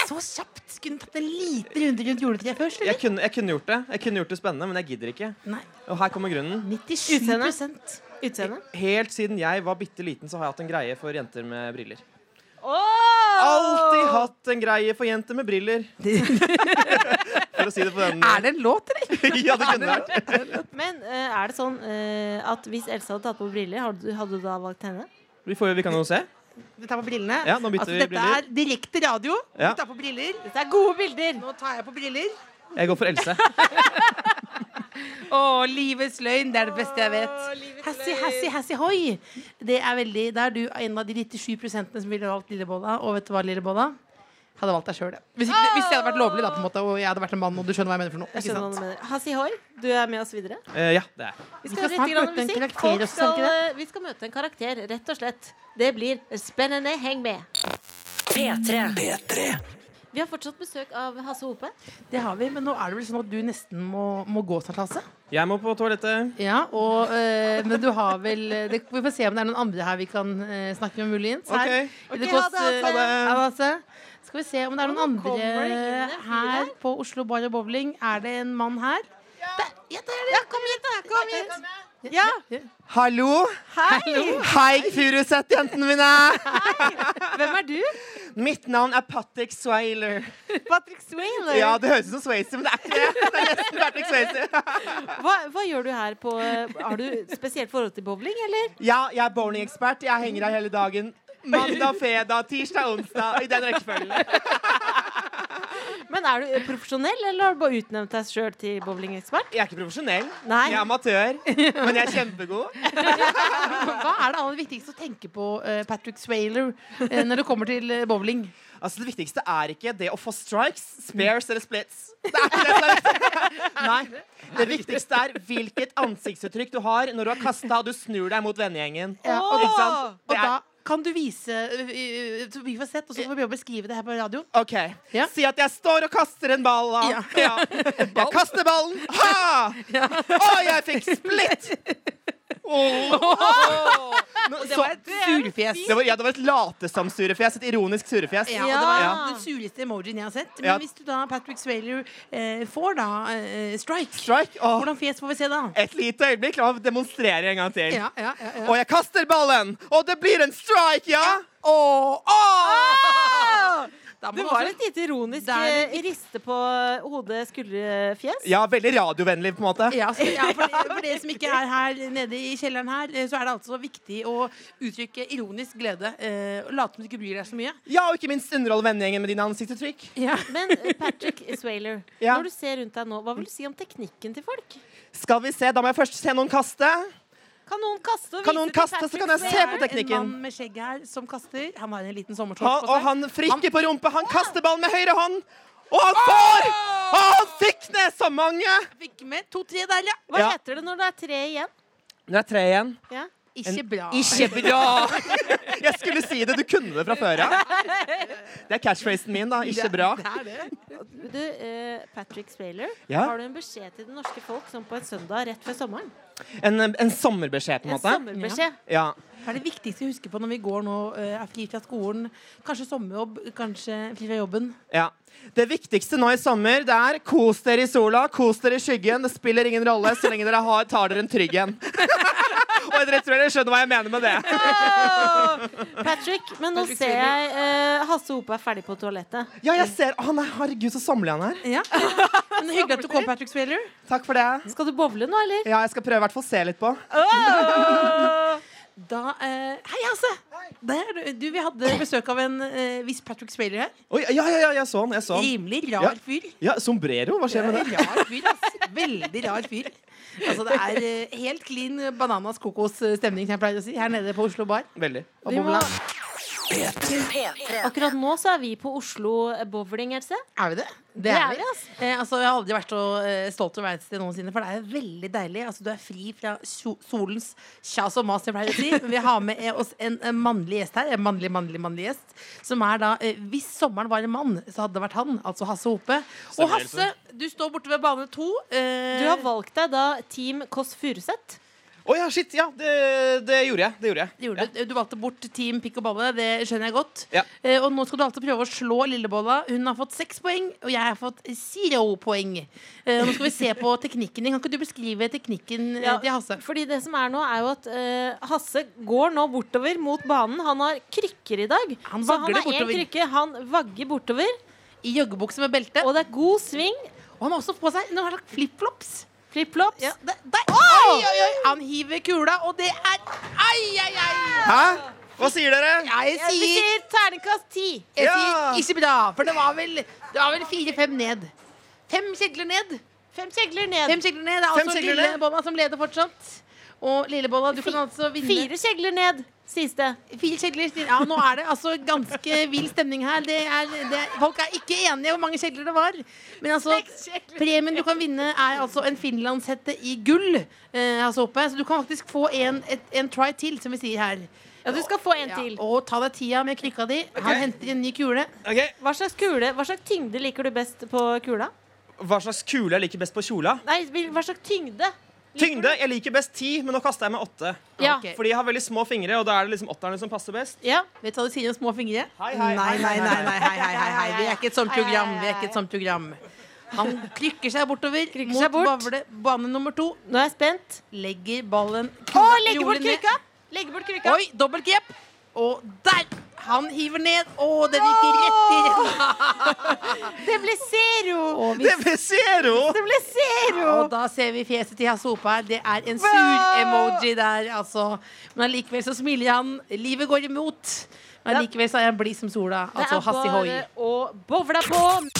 S4: Så kjapt! Skulle du tatt en liten runde rundt juletreet først,
S7: Jeg
S4: eller?
S7: kunne, jeg kunne gjort det Jeg kunne gjort det spennende, men jeg gidder ikke.
S4: Nei.
S7: Og her kommer grunnen.
S4: 97
S3: Utseende?
S7: Helt siden jeg var bitte liten, så har jeg hatt en greie for jenter med briller.
S3: Oh!
S7: Alltid hatt en greie for jenter med briller. For å si det på den
S4: Er det en låt, eller?
S7: Ja, det kunne vært.
S3: Men eh, er det sånn eh, at hvis Else hadde tatt på briller, hadde du, hadde du da valgt henne?
S7: Vi, får, vi kan jo se.
S4: Vi tar på brillene.
S7: Ja, nå bytter
S4: altså,
S7: vi
S4: dette
S7: briller.
S4: er direkte radio.
S7: Ja.
S4: Vi tar på briller.
S3: Dette er gode bilder!
S4: Nå tar jeg på briller.
S7: Jeg går for Else. Eh,
S4: Å, livets løgn. Det er det beste jeg vet. Hassi, hassi, hassi, hoi. Det er veldig Da er du en av de 97 som ville valgt Lillebolla. Og vet du hva, Lillebolla? Hadde valgt deg sjøl, ja. Hvis, ikke, hvis jeg hadde vært lovlig, da, på en måte, og jeg hadde vært en mann, og du skjønner hva jeg mener for noe.
S3: Jeg
S4: Ikke
S3: skjønner hva du
S4: sant?
S3: mener. Hasi Hoi, du er med oss videre.
S7: Eh, ja, det er jeg.
S3: Vi
S4: skal
S3: skal, vi
S4: snart
S3: skal
S4: møte en
S3: musikk.
S4: karakter
S3: Folk
S4: også, skal
S3: skal,
S4: vi ikke
S3: eh, vi skal møte en karakter, rett og slett. Det blir spennende. Heng med.
S1: P3.
S3: Vi har fortsatt besøk av Hasse Hope.
S4: Det har vi, men nå er det vel sånn at du nesten må, må gå snart, Hasse.
S7: Jeg må på toalettet.
S4: Ja, og, eh, men du har vel eh, det, Vi får se om det er noen andre her vi kan eh, snakke med, muligens.
S7: Ok.
S4: Her.
S7: Ok,
S4: Det
S7: ha
S4: kost-
S7: det, ha det.
S4: ha det, Hasse. Skal vi se om det er noen
S3: Nå kommer det inn
S4: andre
S3: en fyr her.
S4: her på Oslo Bar og Bowling. Er det en mann her? Der, ja, der er det. kom hit, da. Kom hit. Ja.
S6: Hallo!
S4: Hallo.
S6: Hei, Furuset-jentene mine!
S3: Hvem er du?
S6: Mitt navn er Patrick Swailer.
S3: Patrick Swayler.
S6: Ja, det høres ut som Swayze, men det er ikke det. Det er nesten Patrick Swayze.
S3: Hva, hva gjør du her på eh, Har du spesielt forhold til bowling, eller?
S6: Ja, jeg er bowlingekspert. Jeg henger her hele dagen. Mandag, fredag, tirsdag, onsdag. I den rekkefølgen.
S3: Men er du profesjonell, eller har du bare utnevnt deg sjøl til bowlingekspert?
S7: Jeg er ikke profesjonell.
S3: Nei.
S7: Jeg er amatør. Men jeg er kjempegod.
S4: Hva er det aller viktigste å tenke på, eh, Patrick Swayler, eh, når det kommer til eh, bowling?
S7: Altså, det viktigste er ikke det å få strikes, spares eller splits. Det er ikke det som er viktig. Nei. Det viktigste er hvilket ansiktsuttrykk du har når du har kasta og du snur deg mot vennegjengen.
S4: Ja, og,
S7: Ikke
S4: da,
S7: sant?
S4: og
S7: Det er-
S4: da kan du vise eh, så Vi får sett, og så får vi jobbe beskrive det her på radio.
S7: OK.
S4: Ja.
S7: Si at jeg står og kaster en ball, da.
S4: Ja.
S7: Ja. Jeg kaster ballen. Ha! Å, jeg fikk splitt! Åh. Nå,
S4: Det
S7: så-
S4: var et surfjes.
S7: det var, ja, det var et latesamsurefjes. Et ironisk surefjes.
S4: Ja, og det var
S3: Ja.
S4: den sureste emojien jeg har sett. Men
S7: Ja.
S4: hvis du da, Patrick Swayler, eh, får da eh, strike,
S7: Strike. Åh.
S4: hvordan fjes får vi se da?
S7: Et lite øyeblikk. La meg demonstrere en gang til.
S4: Ja, ja, ja, ja.
S7: Og jeg kaster ballen, og det blir en strike, ja! Åh,
S4: Ah!
S7: åh!
S4: Da må
S3: Det
S4: man
S3: var
S4: også-
S3: et lite ironisk
S4: Der er
S3: eh, riste på hodet, skuldrefjes.
S7: Ja, veldig radiovennlig, på en måte.
S4: ja, så, ja, for, for dere som ikke er her nede i kjelleren her, eh, så er det altså viktig å uttrykke ironisk glede. eh, Og late som du ikke bryr deg så mye.
S7: Ja, og ikke minst underhold vennegjengen med dine ansiktsuttrykk.
S3: Men eh, Patrick Swayler,
S7: Ja.
S3: når du ser rundt deg nå, hva vil du si om teknikken til folk?
S7: Skal vi se, da må jeg først se noen kaste.
S3: Kan noen kaste og
S7: Kan noen
S3: vise til
S7: kaste, så
S3: Patrick
S7: kan jeg se
S3: Swayler?
S7: på
S4: Det er
S7: teknikken.
S4: En mann med skjegg her som kaster. Han har en liten sommershorts
S7: Han,
S4: på
S7: og
S4: seg.
S7: han frikker på rumpa. Han kaster ballen med høyre hånd. Og han får! Og han fikk ned så mange!
S4: Fikk med to-tre der, ja.
S3: Hva
S7: Ja.
S3: heter det når det er tre igjen?
S7: Det er tre igjen.
S3: Ja.
S4: Ikke bra.
S7: Ikke bra! Jeg skulle si det. Du kunne det fra før av. Det er catchphrasen min, da. Ikke bra.
S3: Du, eh, Patrick Swayler,
S7: Ja.
S3: har du en beskjed til det norske folk som på en søndag rett før sommeren?
S7: En, en sommerbeskjed, på en
S3: En
S7: måte.
S3: sommerbeskjed.
S7: Ja.
S4: Hva er det viktigste å huske på når vi går nå, eh, er fri fra skolen, kanskje sommerjobb, kanskje fri fra jobben?
S7: Ja. Det viktigste nå i sommer det er kos dere i sola, kos dere i skyggen. Det spiller ingen rolle så lenge dere har, tar dere en trygg en. Og dere tror dere skjønner hva jeg mener med det.
S3: Patrick, men nå
S4: Patrick
S3: ser jeg eh, Hasse Hope er ferdig på toalettet.
S7: Ja, jeg ser Å, nei, herregud, så samler han her.
S4: Ja. Men det er hyggelig at du kom, Patrick Swayler.
S7: Takk for det.
S3: Skal du bowle nå, eller?
S7: Ja, jeg skal prøve i hvert fall å se litt på.
S4: Da, eh, hei, Hasse! Der, du, vi hadde besøk av en eh, viss Patrick Swayler her.
S7: Oi, ja, ja, ja, jeg så han. Jeg så han.
S4: Rimelig rar
S7: Ja.
S4: fyr.
S7: Ja, Sombrero, hva skjer med det?
S4: Rar fyr, ass. Veldig rar fyr. Altså, det er eh, helt clean bananas kokos-stemning, som jeg pleier å si, her nede på Oslo Bar.
S7: Veldig.
S4: Vi må,
S3: Akkurat nå så er vi på Oslo Bowling, Else.
S4: er vi det?
S3: Det er vi, ass.
S4: Eh, altså, jeg har aldri vært så eh, stolt over å være et sted noensinne, for det er veldig deilig. Altså, du er fri fra so solens kjas og mas, jeg pleier å si. Men vi har med eh, oss en eh, mannlig gjest her. En mannlig, mannlig, mannlig gjest. Som er da eh, Hvis sommeren var en mann, så hadde det vært han. Altså Hasse Hope. Og
S7: Stemmer,
S4: Hasse, du står borte ved bane to. eh,
S3: Du har valgt deg da Team Kåss Furuseth.
S7: Å ja, shit. Ja, det, det gjorde jeg. Det gjorde jeg.
S4: det gjorde du. Du valgte bort Team Pikk og Balle, det skjønner jeg godt.
S7: Ja.
S4: Eh, og nå skal du alltid prøve å slå Lillebolla. Hun har fått seks poeng, og jeg har fått zero poeng. Eh, og nå skal vi se på teknikken din. Kan ikke du beskrive teknikken eh,
S3: Ja,
S4: til Hasse?
S3: Fordi det som er nå, er jo at eh, Hasse går nå bortover mot banen. Han har krykker i dag.
S4: Han
S3: så han
S4: vagler
S3: har én
S4: bortover.
S3: krykke, han vagger bortover.
S4: I joggebukse med belte.
S3: Og
S4: Og,
S3: det er god sving.
S4: han har også på seg noen slags flipflops.
S3: Flipflops.
S4: Ja, det- der- Oi, oi, oi! Han hiver kula, og det er Ai, ai, ai!
S7: Hæ? Hva sier dere?
S4: Jeg
S3: Vi
S4: sier,
S3: sier terningkast ti.
S4: jeg
S7: Ja.
S4: sier ikke bra, for det var vel, det var vel fire-fem ned. Fem kjegler ned.
S3: Fem kjegler ned.
S4: Fem kjegler ned. Det er
S7: Fem
S4: altså
S7: kjegler ned.
S4: Lillebolla som leder fortsatt. Og Lillebolla, du kan altså vinne.
S3: Fire kjegler ned. Siste.
S4: Fire kjegler. Ja, nå er det altså ganske vill stemning her. Det er, det er, folk er ikke enige hvor mange kjegler det var. Men altså, premien du kan vinne, er altså en finlandshette i gull. Eh, altså oppe. Så du kan faktisk få en, et, en try til, som vi sier her.
S3: Ja, du skal få en
S4: Ja,
S3: til.
S4: og ta deg tida med krykka di. Han henter en ny kule.
S7: Ok,
S3: Hva slags kule, hva slags tyngde liker du best på kula?
S7: Hva slags kule jeg liker best på kjola?
S3: Nei, hva slags tyngde? liker
S7: Tyngde. Jeg liker best ti, men nå kaster jeg med åtte.
S3: Ja.
S4: Ok.
S7: Fordi jeg har veldig små fingre, og da er det liksom åtterne som passer best.
S3: ja.
S4: Vet du hva de sier om små fingre?
S7: Hei,
S4: nei,
S7: hei, hei,
S4: nei,
S7: hei,
S4: nei,
S7: hei.
S4: nei, hei, hei, hei, hei. Vi er ikke et sånt
S3: Hei, hei,
S4: program.
S3: hei,
S4: Vi er ikke
S3: hei.
S4: et sånt program. Han krykker seg bortover
S3: Krykker
S4: mot
S3: seg bort.
S4: Bavle, bane nummer to.
S3: Nå er jeg spent.
S4: Legger ballen
S3: Å,
S4: kula-
S3: legge bort
S4: rolig ned.
S3: krykka! Legge bort krykka.
S4: Oi, dobbelt grep. Og der! Han hiver ned. Å, den gikk rett i retta.
S3: Det ble zero!
S4: Og, vi-
S7: Det blir zero!
S3: Det ble zero!
S4: og da ser vi fjeset til Hasse Hope her. Det er en sur emoji der, altså. Men allikevel så smiler han. Livet går Altså,
S3: altså
S4: imot. Men allikevel så er han blid som sola. Altså Hassi Hoi.
S3: Det er bare å bowle på.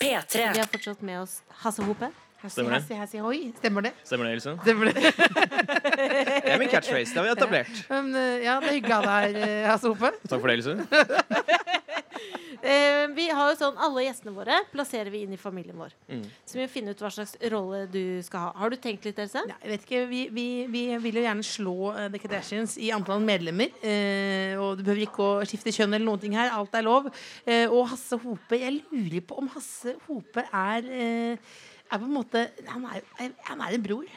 S1: P3.
S3: Vi har fortsatt med oss Hasse Hope.
S7: Stemmer det?
S4: Hassi, hassi, hoi. Stemmer det?
S7: Stemmer det, Else?
S4: Stemmer det?
S8: Det er min catchphrase. Det har vi etablert.
S4: Men, eh, ja, det er hyggelig av deg her, eh, Hasse Hope.
S7: Takk for det, Else.
S3: Eh, vi har jo sånn, Alle gjestene våre plasserer vi inn i familien vår. Så vi må finne ut hva slags rolle du skal ha. Har du tenkt litt, Else?
S4: Nei, jeg vet ikke, vi, vi, vi vil jo gjerne slå eh, The Kardashians i antall medlemmer. Eh, og du behøver ikke å skifte kjønn eller noen ting her. Alt er lov. Eh, og Hasse Hope Jeg lurer på om Hasse Hope er eh, er på en måte Han er, jo- han er en bror.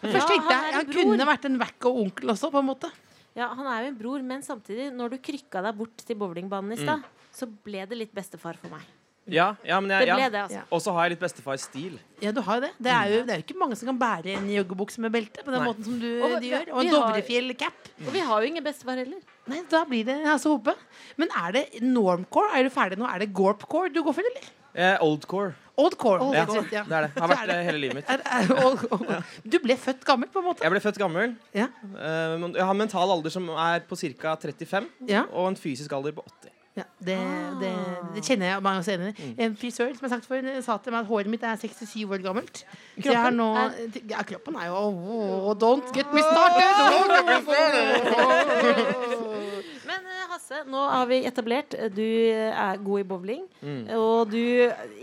S4: Men
S3: Ja,
S4: Først tenkte
S3: han er
S4: jeg
S3: en
S4: han
S3: bror.
S4: kunne vært en wack og onkel også, på en måte.
S3: Ja, Han er jo en bror, men samtidig, når du krykka deg bort til bowlingbanen i stad, så ble det litt bestefar for meg.
S7: Ja, ja, men
S3: Det
S7: jeg,
S3: ble
S7: ja.
S3: det, altså.
S4: Ja.
S7: Og så har jeg litt bestefar-stil.
S4: Ja, du har jo det. Det er jo, det er jo ikke mange som kan bære en joggebukse med belte på den
S7: Nei.
S4: måten som du
S3: Og
S4: de
S3: vi-
S4: gjør. Og
S3: vi
S4: en
S3: har-
S4: Dovrefjell-cap.
S3: Og vi har jo ingen bestefar heller.
S4: Nei, da blir det Hasse Hope. Men er det normcore? Er du ferdig nå? Er det gorpcore du går for, eller?
S7: Eh, oldcore.
S4: Oldcore.
S7: Ja,
S4: helt rett,
S7: det
S4: ja.
S7: er det. Har vært det hele livet mitt.
S4: Er- er- og- og- Du ble født gammel, på en måte.
S7: Jeg ble født gammel.
S4: Ja.
S7: Eh, men jeg har en mental alder som er på ca. 35,
S4: Ja.
S7: og en fysisk alder på 80.
S4: Ja, det, det, det kjenner jeg meg også enig i. En frisør som jeg sagt for, sa til meg at håret mitt er 67 år gammelt. Så jeg har nå ja, Kroppen er jo oh, Don't get me started!
S3: Men eh, Hasse, nå har vi etablert eh, du er god i bowling. Og du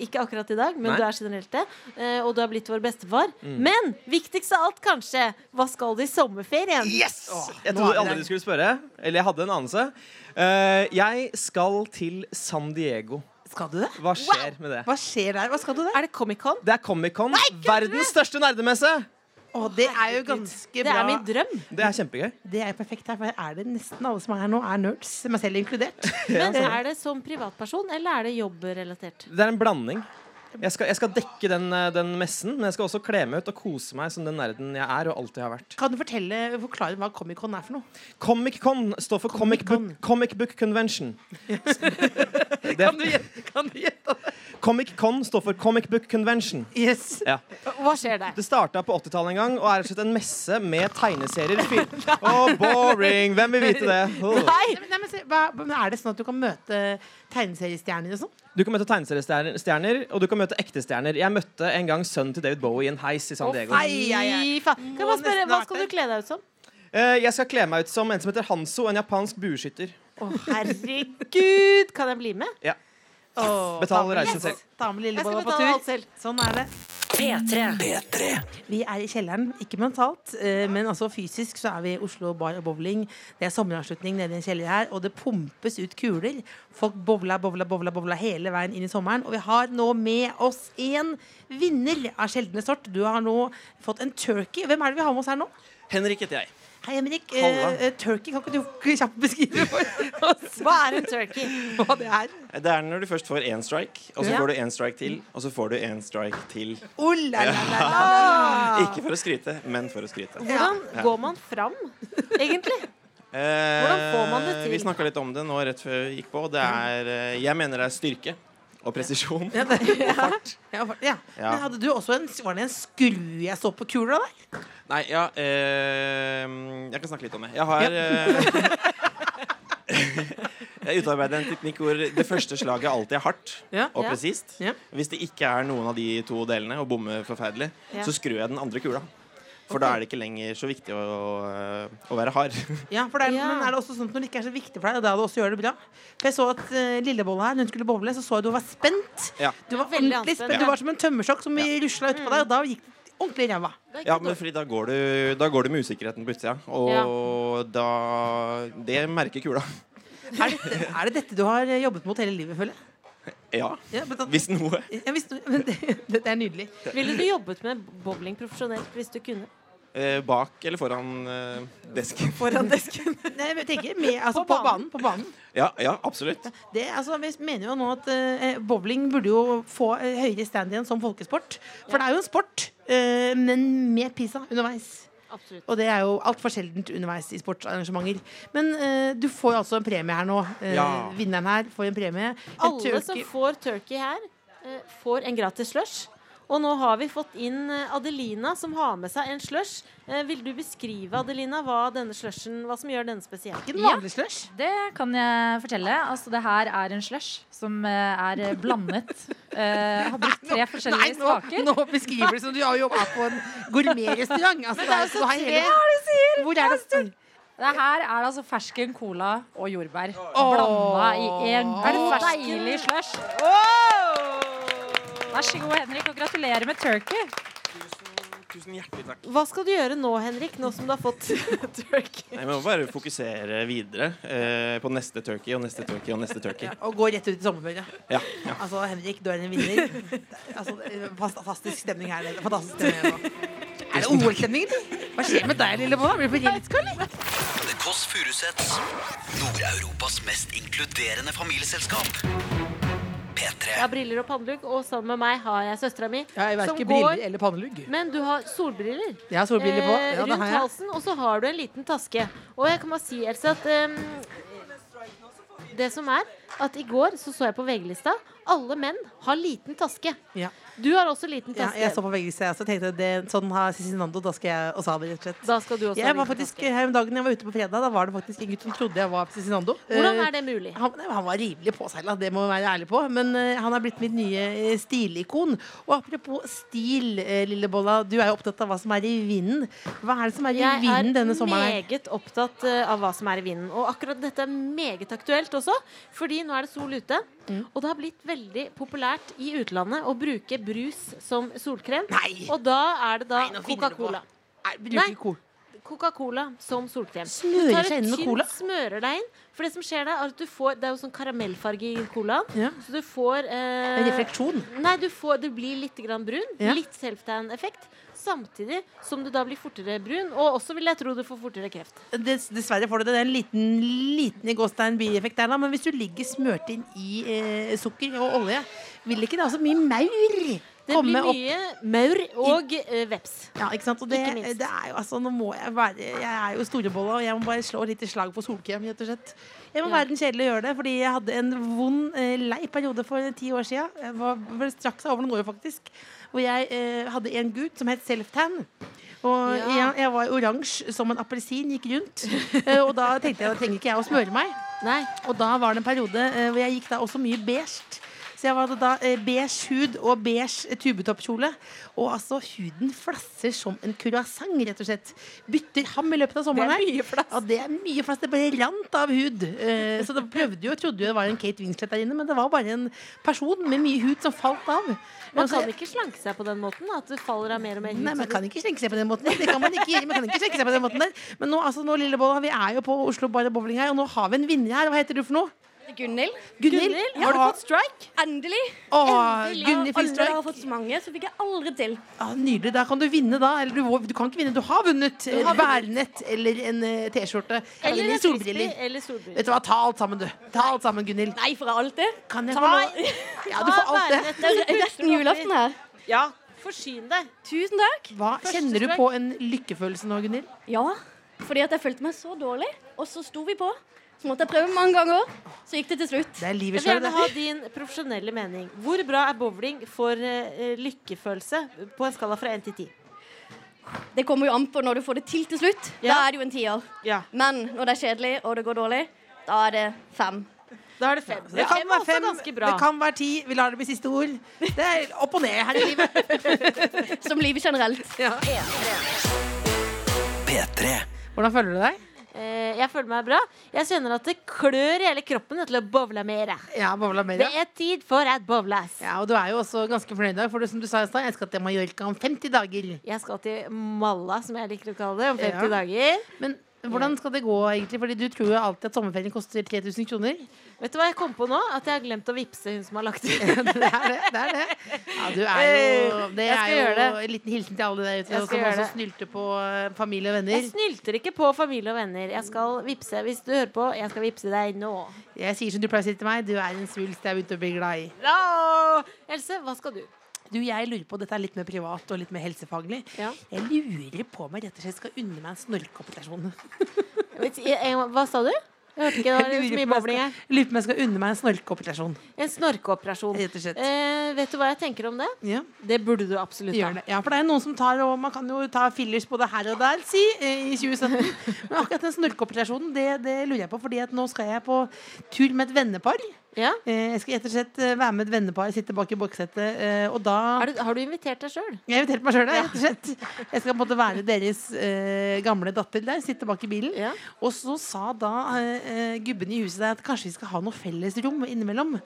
S3: Ikke akkurat i dag, men
S7: Nei.
S3: du er generelt det. eh, Og du har blitt vår bestefar. Men viktigst av alt, kanskje, hva skal du i sommerferien?
S7: Yes! jeg
S4: nå er
S7: trodde
S4: vi
S7: aldri
S4: der.
S7: du skulle spørre. Eller jeg hadde en anelse. Eh, jeg skal til San Diego.
S4: Skal du det?
S7: Hva skjer med det?
S4: Hva skjer der? Hva skal du der?
S3: Er det Comic-Con?
S7: Det er Comic-Con. Verdens største nerdemesse!
S4: Å, det er jo ganske
S3: Det
S4: bra.
S3: er min drøm.
S7: Det er kjempegøy.
S4: Det er jo perfekt her, for her er det nesten alle som er her nå, er nerds. Meg selv inkludert.
S3: Men er det som privatperson, eller er det jobbrelatert?
S7: Det er en blanding. Jeg skal, jeg skal dekke den, eh, den messen, men jeg skal også kle meg ut og kose meg som den nerden jeg er og alltid har vært.
S4: Kan du fortelle, forklare hva Comic-Con er for noe?
S7: Comic-Con står for Comic Book, Comic Book Convention.
S4: Kan du gjette- kan du gjette?
S7: Comic-Con står for Comic Book Convention.
S4: Yes.
S7: Ja.
S3: Hva skjer der?
S7: Det starta på 80-tallet en gang og er rett og slett en messe med tegneserier. Fy- Åh, boring! Hvem vil vite det? Åh.
S4: Nei, men- nei, men, se, hva, men Er det sånn at du kan møte tegneseriestjerner og sånn?
S7: Du kan møte tegneseriestjerner, stjerner, og du kan møte ekte stjerner. Jeg møtte en gang sønnen til David Bowie i en heis i San Diego.
S4: Ei, ei, ei.
S3: Fy faen. Kan jeg bare spørre,
S4: Må nesten
S3: Hva
S4: ha vært
S3: skal du kle deg ut som?
S7: Eh, Jeg skal kle meg ut som en som heter Hanso, en japansk bueskytter.
S3: Å, herregud! Kan jeg bli med?
S4: Åh,
S7: Betal
S4: ta med-
S7: reisen selv.
S4: Ta med
S3: Jeg skal
S4: lillebolla på
S3: betale alt
S4: tur.
S3: selv.
S4: Sånn er det.
S1: P3.
S4: Vi er i kjelleren, ikke mentalt, eh, men altså fysisk så er vi i Oslo Bar og Bowling. Det er sommeravslutning nede i en kjeller her, og det pumpes ut kuler. Folk bowla, bowla, bowla, bowla hele veien inn i sommeren. Og vi har nå med oss en vinner av sjeldne sort. Du har nå fått en turkey. Hvem er det vi har med oss her nå?
S7: Henrik heter jeg.
S4: Hei, Henrik.
S7: Halla.
S4: Eh, eh, turkey, kan ikke du kjapt beskrive for oss
S3: Hva er en turkey?
S4: hva det er?
S9: Det er når du først får én strike, og så
S4: Ja.
S9: får du én strike til, og så får du én strike til.
S4: Oh, la, la, la, la.
S9: Ikke for å skryte, men for å skryte.
S3: Hvordan går man fram, egentlig?
S9: Hvordan
S3: får man det til?
S9: Eh, Vi snakka litt om det nå rett før vi gikk på. Det er, eh, jeg mener det er styrke og presisjon.
S4: Ja, det, ja. Ja, for- ja.
S9: Ja.
S4: Men hadde du også en, var det en skru jeg så på kula der?
S9: Nei, ja eh, Jeg kan snakke litt om det. Jeg har eh, Jeg utarbeidet en teknikk hvor det første slaget alltid er hardt
S4: Ja.
S9: og
S3: Ja.
S9: presist.
S4: Ja.
S9: Hvis det ikke er noen av de to delene og bommer forferdelig,
S3: Ja.
S9: så skrur jeg den andre kula. For da er det ikke lenger så viktig å, eh, å være hard.
S4: Ja, for det er,
S3: Ja.
S4: Men er det også sånn at når det ikke er så viktig for deg, da du også gjør det bra? For jeg så at eh, Lillebolla her, når hun skulle bowle, så så jeg du var spent.
S9: Ja.
S4: Du var
S3: Veldig
S4: ordentlig
S3: anspent,
S4: spent.
S3: ja.
S4: Du var som en tømmerstokk som rusla utpå deg, og da gikk det ordentlig i ræva.
S9: Ja, men fordi da går, du, da går du med usikkerheten på utsida, og da Det merker kula.
S4: Er, dette- er det dette du har eh, jobbet mot hele livet, føler jeg?
S9: Ja.
S4: Ja, men da-
S9: Hvis noe.
S4: Ja, hvis du- men det, det er nydelig.
S3: Ville du jobbet med bowling profesjonelt hvis du kunne?
S9: Eh, bak eller foran eh, desken.
S4: Foran desken. Nei, men jeg tenker med, altså, på, banen. på banen.
S9: Ja, ja, absolutt.
S4: Det, altså, vi mener jo nå at eh, bowling burde jo få eh, høyere stand igjen som folkesport. For det er jo en sport, eh, men med PISA underveis.
S3: Absolutt.
S4: Og det er jo altfor sjeldent underveis i sportsarrangementer. Men eh, du får jo altså en premie her nå. Eh,
S9: Ja.
S4: Vinneren her får en premie. En
S3: Alle
S4: turkey-
S3: som får turkey her, eh, får en gratis slush. Og nå har vi fått inn eh, Adelina, som har med seg en slush. Eh, Vil du beskrive Adelina, hva, denne slushen, hva som gjør denne spesiell?
S4: Ikke den
S10: Ja.
S4: vanlige slush.
S10: Det kan jeg fortelle. Altså, det her er en slush som eh, er blandet. Eh, har brukt tre forskjellige
S4: nå,
S10: smaker.
S4: nå beskriver du som du har jobba på en gourmetrestaurant. Altså, det er jo så
S10: Hva er det du sier?
S4: Hvor er det
S10: Det her er altså fersken, cola og jordbær
S4: Åh.
S10: blanda i en
S4: Er det
S10: god,
S4: fersken?
S10: deilig slush. Vær så god, Henrik, og gratulerer med turkey.
S11: Tusen hjertelig takk.
S3: Hva skal du gjøre nå, Henrik, nå som du har fått turkey?
S11: Jeg må bare fokusere videre eh, på neste turkey og neste turkey og neste turkey.
S4: Og gå rett ut i sommerferie.
S11: Ja, ja.
S4: Altså, Henrik, du er en vinner. Altså, fantastisk stemning her. nede. Fantastisk stemning her nå. Er det OL-stemning, eller? Hva skjer med deg, lille Bonna? Blir du forelska, eller?
S2: The Kåss Furuseths. Nord-Europas mest inkluderende familieselskap.
S3: Jeg
S2: P3.
S3: har briller og pannelugg, og sammen med meg har jeg søstera mi.
S4: Jeg
S3: verken briller
S4: eller pannelugg.
S3: Men du har solbriller.
S4: Jeg har solbriller på.
S3: Eh,
S4: Ja, det
S3: rundt
S4: har jeg.
S3: halsen, og så har du en liten taske. Og jeg kan bare si, Else, at ehm, det som er at I går så, så jeg på VG-lista. Alle menn har liten taske.
S4: Ja.
S3: Du har også liten
S4: Ja,
S3: taske.
S4: jeg så på begge sider, så tenkte jeg det, sånn har Sissy Nando, da skal jeg også ha det, rett og slett.
S3: Da skal du også
S4: Jeg
S3: ha
S4: var
S3: liten
S4: faktisk
S3: taske.
S4: her om dagen jeg var ute på fredag, da var det faktisk en gutt som trodde jeg var Sissy Nando.
S3: Hvordan
S4: Eh,
S3: er det mulig?
S4: Han, nei, han var rimelig påseila, det må vi være ærlig på. Men eh, han er blitt mitt nye eh, stilikon. Og apropos stil, eh, lille Bolla. Du er jo opptatt av hva som er i vinden. Hva er det som er i
S3: Jeg er
S4: vinden denne sommeren? her?
S3: meget opptatt eh, av hva som er i vinden. Og akkurat dette er meget aktuelt også, fordi nå er det sol ute.
S4: Mm.
S3: Og det har blitt veldig populært i utlandet å bruke brus som solkrem.
S4: Nei.
S3: Og da er det da
S4: Nei, nå finner du på.
S3: Coca-Cola.
S4: Nei,
S3: Nei.
S4: bruker kol.
S3: Coca-Cola som solkrem.
S4: Smører
S3: Du tar et
S4: seg inn med
S3: tynt
S4: cola?
S3: Smører deg inn. For det som skjer da, er at du får Det er jo sånn karamellfarge i colaen.
S4: Ja.
S3: Så du får eh,
S4: En refleksjon.
S3: Nei, du, får, du blir litt grann brun.
S4: Ja.
S3: Litt self-tan-effekt. Samtidig som du da blir fortere brun, og også vil jeg tro du får fortere kreft.
S4: Dess, dessverre får du det. Det er en liten, liten i gåstein bieffekt der, da. Men hvis du ligger smørt inn i eh, sukker og olje, vil ikke det altså mye maur
S3: Det
S4: komme
S3: blir
S4: opp?
S3: mye maur og eh, veps.
S4: Ja, ikke sant? Og det,
S3: Ikke minst.
S4: det er jo altså, nå må jeg være Jeg er jo storebolla, og jeg må bare slå et lite slag på solkrem, rett og slett. Jeg må
S3: Ja.
S4: være den kjedelige og gjøre det, fordi jeg hadde en vond, eh, lei periode for ti år siden. Jeg var vel straks over noen år, faktisk. Hvor jeg eh, hadde en gutt som het Selftan. Og
S3: Ja.
S4: jeg, jeg var oransje som en appelsin, gikk rundt. Eh, og da tenkte jeg da trenger ikke jeg å smøre meg.
S3: Nei.
S4: Og da var det en periode eh, hvor jeg gikk da også mye beige. Så jeg var da eh, beige hud og beige eh, tubetoppkjole. Og altså, huden flasser som en kurasang, rett og slett. Bytter ham i løpet av sommeren. her. Ja, det er mye flass. Det bare rant av hud. Eh, så det prøvde jo, trodde jo det var en Kate Winslet der inne, men det var bare en person med mye hud som falt av.
S3: Man
S4: Altså,
S3: kan ikke slanke seg på den måten. da, At du faller av mer og mer.
S4: Nei, man kan ikke skjenke seg på den måten. Det kan man ikke gjøre. Man kan ikke skjenke seg på den måten der. Men nå, altså, nå Lillebolla, vi er jo på Oslo Bar og Bowling her, og nå har vi en vinner her. Hva heter du for noe?
S12: Gunhild,
S4: Gunhild?
S3: Gunhild,
S4: har du fått
S12: strike? Endelig.
S4: Åh,
S12: Endelig.
S4: Gunhild fikk
S12: Alle
S4: strike.
S12: har fått så mange, så fikk jeg aldri til.
S4: Ja, nydelig. Da kan du vinne, da. Eller du, du kan ikke vinne, du har vunnet. Et værnett eller en eh, T-skjorte.
S3: Eller
S4: Eller
S3: en
S4: solbriller.
S3: frisbee, Eller solbriller.
S4: Vet du hva, ta alt sammen, du. Ta alt sammen, Gunhild.
S12: Nei, for jeg har alt det.
S4: Kan jeg
S12: Ta
S4: få
S12: nå.
S4: lov? Ja, du får alt det.
S12: Det er nesten julaften her.
S3: Ja, forsyn deg.
S12: Tusen takk.
S4: Hva
S3: Første
S4: Kjenner du
S3: strike.
S4: på en lykkefølelse nå, Gunhild?
S12: Ja, fordi at jeg følte meg så dårlig, og så sto vi på. Så måtte jeg prøve mange ganger. Så gikk det til slutt.
S4: Det er livet
S3: Jeg vil
S4: sjøl,
S3: gjerne
S4: det.
S3: ha din profesjonelle mening. Hvor bra er bowling for eh, lykkefølelse på en skala fra 1 til 10?
S12: Det kommer jo an på når du får det til til slutt. Da
S3: Ja.
S12: er det jo en tier.
S3: Ja,
S12: Men når det er kjedelig, og det går dårlig, da er det fem.
S3: Da er det fem.
S4: Altså, Det kan være fem,
S3: ganske bra.
S4: det kan være ti. Vi lar det bli siste ord. Det er opp og ned her i livet.
S12: Som livet generelt.
S2: P3.
S4: Hvordan føler du deg?
S3: Eh, jeg føler meg bra. Jeg kjenner at det klør i hele kroppen til å bowle mer.
S4: Ja, bobla mer,
S3: Det er tid for at bowles.
S4: Ja, og du er jo også ganske fornøyd i dag, for det, som du sa i stad, jeg skal til Mallorca om 50 dager.
S3: Jeg skal til Malla, som jeg liker å kalle det, om 50
S4: Ja.
S3: dager.
S4: Men hvordan skal det gå, egentlig? Fordi du tror jo alltid at sommerferien koster 3000 kroner.
S3: Vet du hva jeg kom på nå? At jeg har glemt å vippse hun som har lagt ut.
S4: det er det. det, er det. Ja, du er jo Det
S3: Jeg skal
S4: er
S3: gjøre
S4: jo
S3: det.
S4: en liten hilsen til alle der
S3: Jeg
S4: ute
S3: skal
S4: som
S3: gjøre
S4: også
S3: det.
S4: snylter på eh, familie og venner.
S3: Jeg snylter ikke på familie og venner. Jeg skal vippse. Hvis du hører på, jeg skal vippse deg nå.
S4: Jeg sier som du pleier å si til meg, du er en svulst jeg har begynt å bli glad i.
S3: Bra! Else, hva skal du?
S4: Du, jeg lurer på, Dette er litt mer privat og litt mer helsefaglig.
S3: Ja.
S4: Jeg lurer på om jeg rett og slett skal unne meg en snorkeoperasjon.
S3: Vet- jeg- jeg- Hva sa du? Jeg vet ikke, det var
S4: Jeg
S3: så
S4: lurer
S3: mye
S4: på om
S3: bowling
S4: jeg
S3: her.
S4: skal- Lurer på om jeg skal unne meg en snorkeoperasjon.
S3: En snorkeoperasjon.
S4: Rett og slett.
S3: Eh, vet du hva jeg tenker om det?
S4: Ja.
S3: Det burde du absolutt
S4: Gjør det. Ja, for det er noen som tar Og man kan jo ta fillers både her og der, si, eh, i 2017. Men akkurat den snorkeoperasjonen, det, det lurer jeg på. Fordi at nå skal jeg på tur med et vennepar. Eh, Jeg skal rett og slett eh, være med et vennepar, sitte bak i baksetet, eh, og da
S3: Er du, har du invitert deg sjøl?
S4: Jeg har invitert meg sjøl, rett og slett. Jeg skal på en måte være deres eh, gamle datter der. Sitte bak i bilen. Og så sa da eh, eh, gubben i huset der at kanskje vi skal ha noe fellesrom innimellom.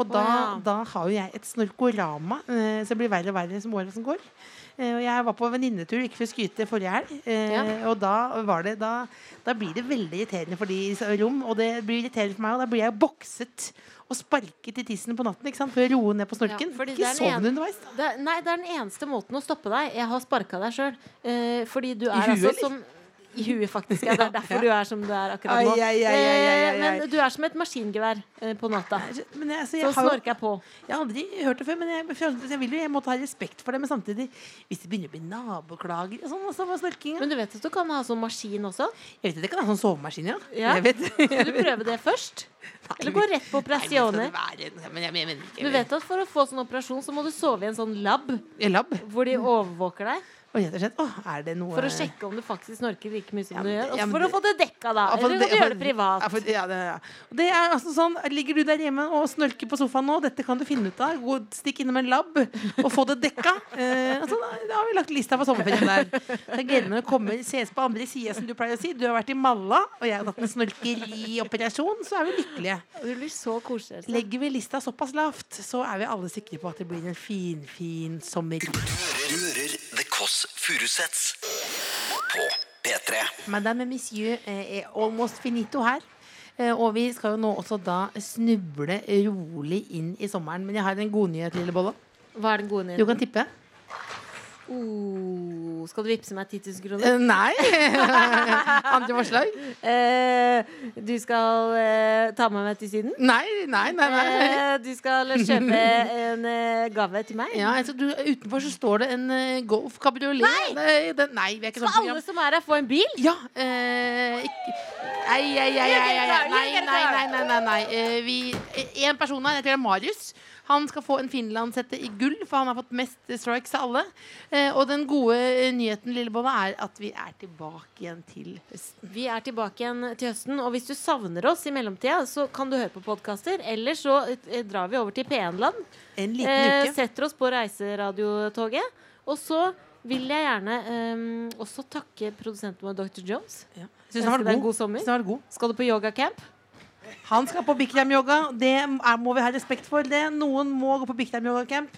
S4: Og da,
S3: Å, ja.
S4: da har jo jeg et snorkorama eh, som blir verre og verre som åra som går. Eh, og jeg var på venninnetur, ikke for å skryte, forrige helg. Eh, Og da var det da, da blir det veldig irriterende for de i s- rom, og det blir irriterende for meg, og da blir jeg bokset. Og sparket i tissen på natten ikke sant? for å roe ned på snorken.
S3: fordi det
S4: ikke
S3: er den
S4: sovne
S3: en-
S4: underveis.
S3: Det, er- nei, det er den eneste måten å stoppe deg. Jeg har sparka deg sjøl. Eh, fordi du er
S4: huet,
S3: altså
S4: eller?
S3: som I huet, faktisk. Ja. Det er derfor
S4: Ja.
S3: du er som du er akkurat nå.
S4: Ai, ai, ai, ai, ai, ai,
S3: Eh,
S4: ai.
S3: Men du er som et maskingevær eh, på natta.
S4: Men jeg,
S3: Så
S4: altså, jeg har jo-
S3: snorker jeg på.
S4: Jeg har aldri hørt det før, men jeg, jeg vil jo jeg måtte ha respekt for det. Men samtidig, hvis det begynner å bli naboklager og sånn, og så var snorkinga
S3: Men du vet at du kan ha sånn maskin også?
S4: Jeg vet at jeg kan ha sånn sovemaskin, ja.
S3: Ja.
S4: Jeg vet.
S3: Skal du prøve det først? Eller gå rett på operasjoner?
S4: Men jeg, jeg mener ikke
S3: Du vet at for å få sånn operasjon, så må du sove i en sånn lab. Hvor de overvåker deg.
S4: Og rett og slett, Mm. åh, er det noe
S3: For å sjekke om du faktisk snorker like mye som
S4: Ja,
S3: du
S4: men
S3: gjør.
S4: det-
S3: Og
S4: ja, men
S3: for å
S4: det-
S3: få det dekka, da.
S4: Ja, for
S3: Eller kan
S4: det-
S3: du
S4: for-
S3: gjøre det privat.
S4: Ja, for, ja, det, ja. Det er altså sånn, Ligger du der hjemme og snorker på sofaen nå, dette kan du finne ut av. Gå, stikk innom en lab og få det dekka. Eh, altså, da, da har vi lagt lista for sommerferien der. Så Jeg gleder meg å komme ses på andre sida, som du pleier å si. Du har vært i Malla, og jeg har tatt en snorkerioperasjon, så er vi lykkelige.
S3: Det blir så koselig. altså.
S4: Legger vi lista såpass lavt, så er vi alle sikre på at det blir en finfin fin sommer.
S2: Du hører The Kåss Furuseths på P3.
S4: Madame Monsieur eh, er almost finito her. Eh, Og vi skal jo nå også da snuble rolig inn i sommeren. Men jeg har en godnyhet, lille Bolla.
S3: Hva er den gode nyheten?
S4: Du kan tippe.
S3: Oh, skal du vippse meg 10 000
S4: Eh,
S3: kroner?
S4: nei. Andre forslag?
S3: Eh, du skal eh, ta med meg til Syden?
S4: Nei, nei, nei, nei.
S3: Eh, du skal kjøpe en eh, gave til meg?
S4: Ja, jeg tror du, Utenfor så står det en eh, Golf kabriolet.
S3: Nei!
S4: Nei, den, nei, vi er ikke
S3: Skal
S4: sånn program.
S3: alle som er her, få en bil?
S4: Ja. Eh, ikke, ei, ei, ei, ei, ei, ei. Nei, nei, nei. nei, nei, nei. Eh, vi, eh, en person her, jeg tror det er Marius. Han skal få en finlandshette i gull, for han har fått mest strikes av alle. Eh, og den gode eh, nyheten Lillebolla, er at vi er tilbake igjen til høsten.
S3: Vi er tilbake igjen til høsten, og hvis du savner oss i mellomtida, så kan du høre på podkaster. Eller så eh, drar vi over til P1-land.
S4: En liten uke.
S3: Setter oss på reiseradiotoget. Og så vil jeg gjerne eh, også takke produsenten vår, Dr. Jones.
S4: Synes han
S3: Ønske
S4: var
S3: deg en
S4: god.
S3: god sommer.
S4: Synes han var god.
S3: Skal du på yogacamp?
S4: Han skal på Bikram-yoga. Det er, må vi ha respekt for. det Noen må gå på Bikram-yoga-camp.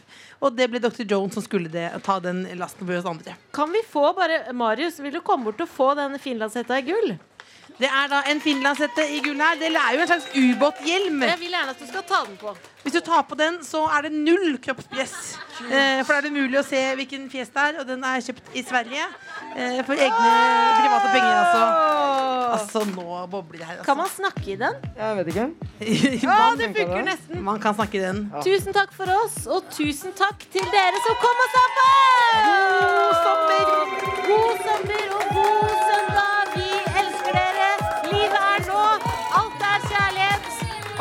S4: Og det ble Dr. Jones som skulle det, ta den lasten for oss andre.
S3: Kan vi få bare Marius, vil du komme bort og få den finlandshetta i gull?
S4: Det er da en finlandshette i gull her. Det er jo en slags ubåthjelm.
S3: Jeg vil gjerne at du skal ta den på.
S4: Hvis du tar på den, så er det null kroppspress. Eh, for da er det mulig å se hvilken fjes det er, og den er kjøpt i Sverige. Eh, for egne private penger, altså. Altså, nå bobler det her. Altså.
S3: Kan man snakke i den?
S4: Jeg vet ikke.
S3: Å, det funker nesten.
S4: Man kan snakke i den.
S3: Tusen takk for oss, og tusen takk til dere som kom og sa på! God sommer! God sommer og god søndag! Vi elsker dere! Livet er nå! Alt er kjærlighet!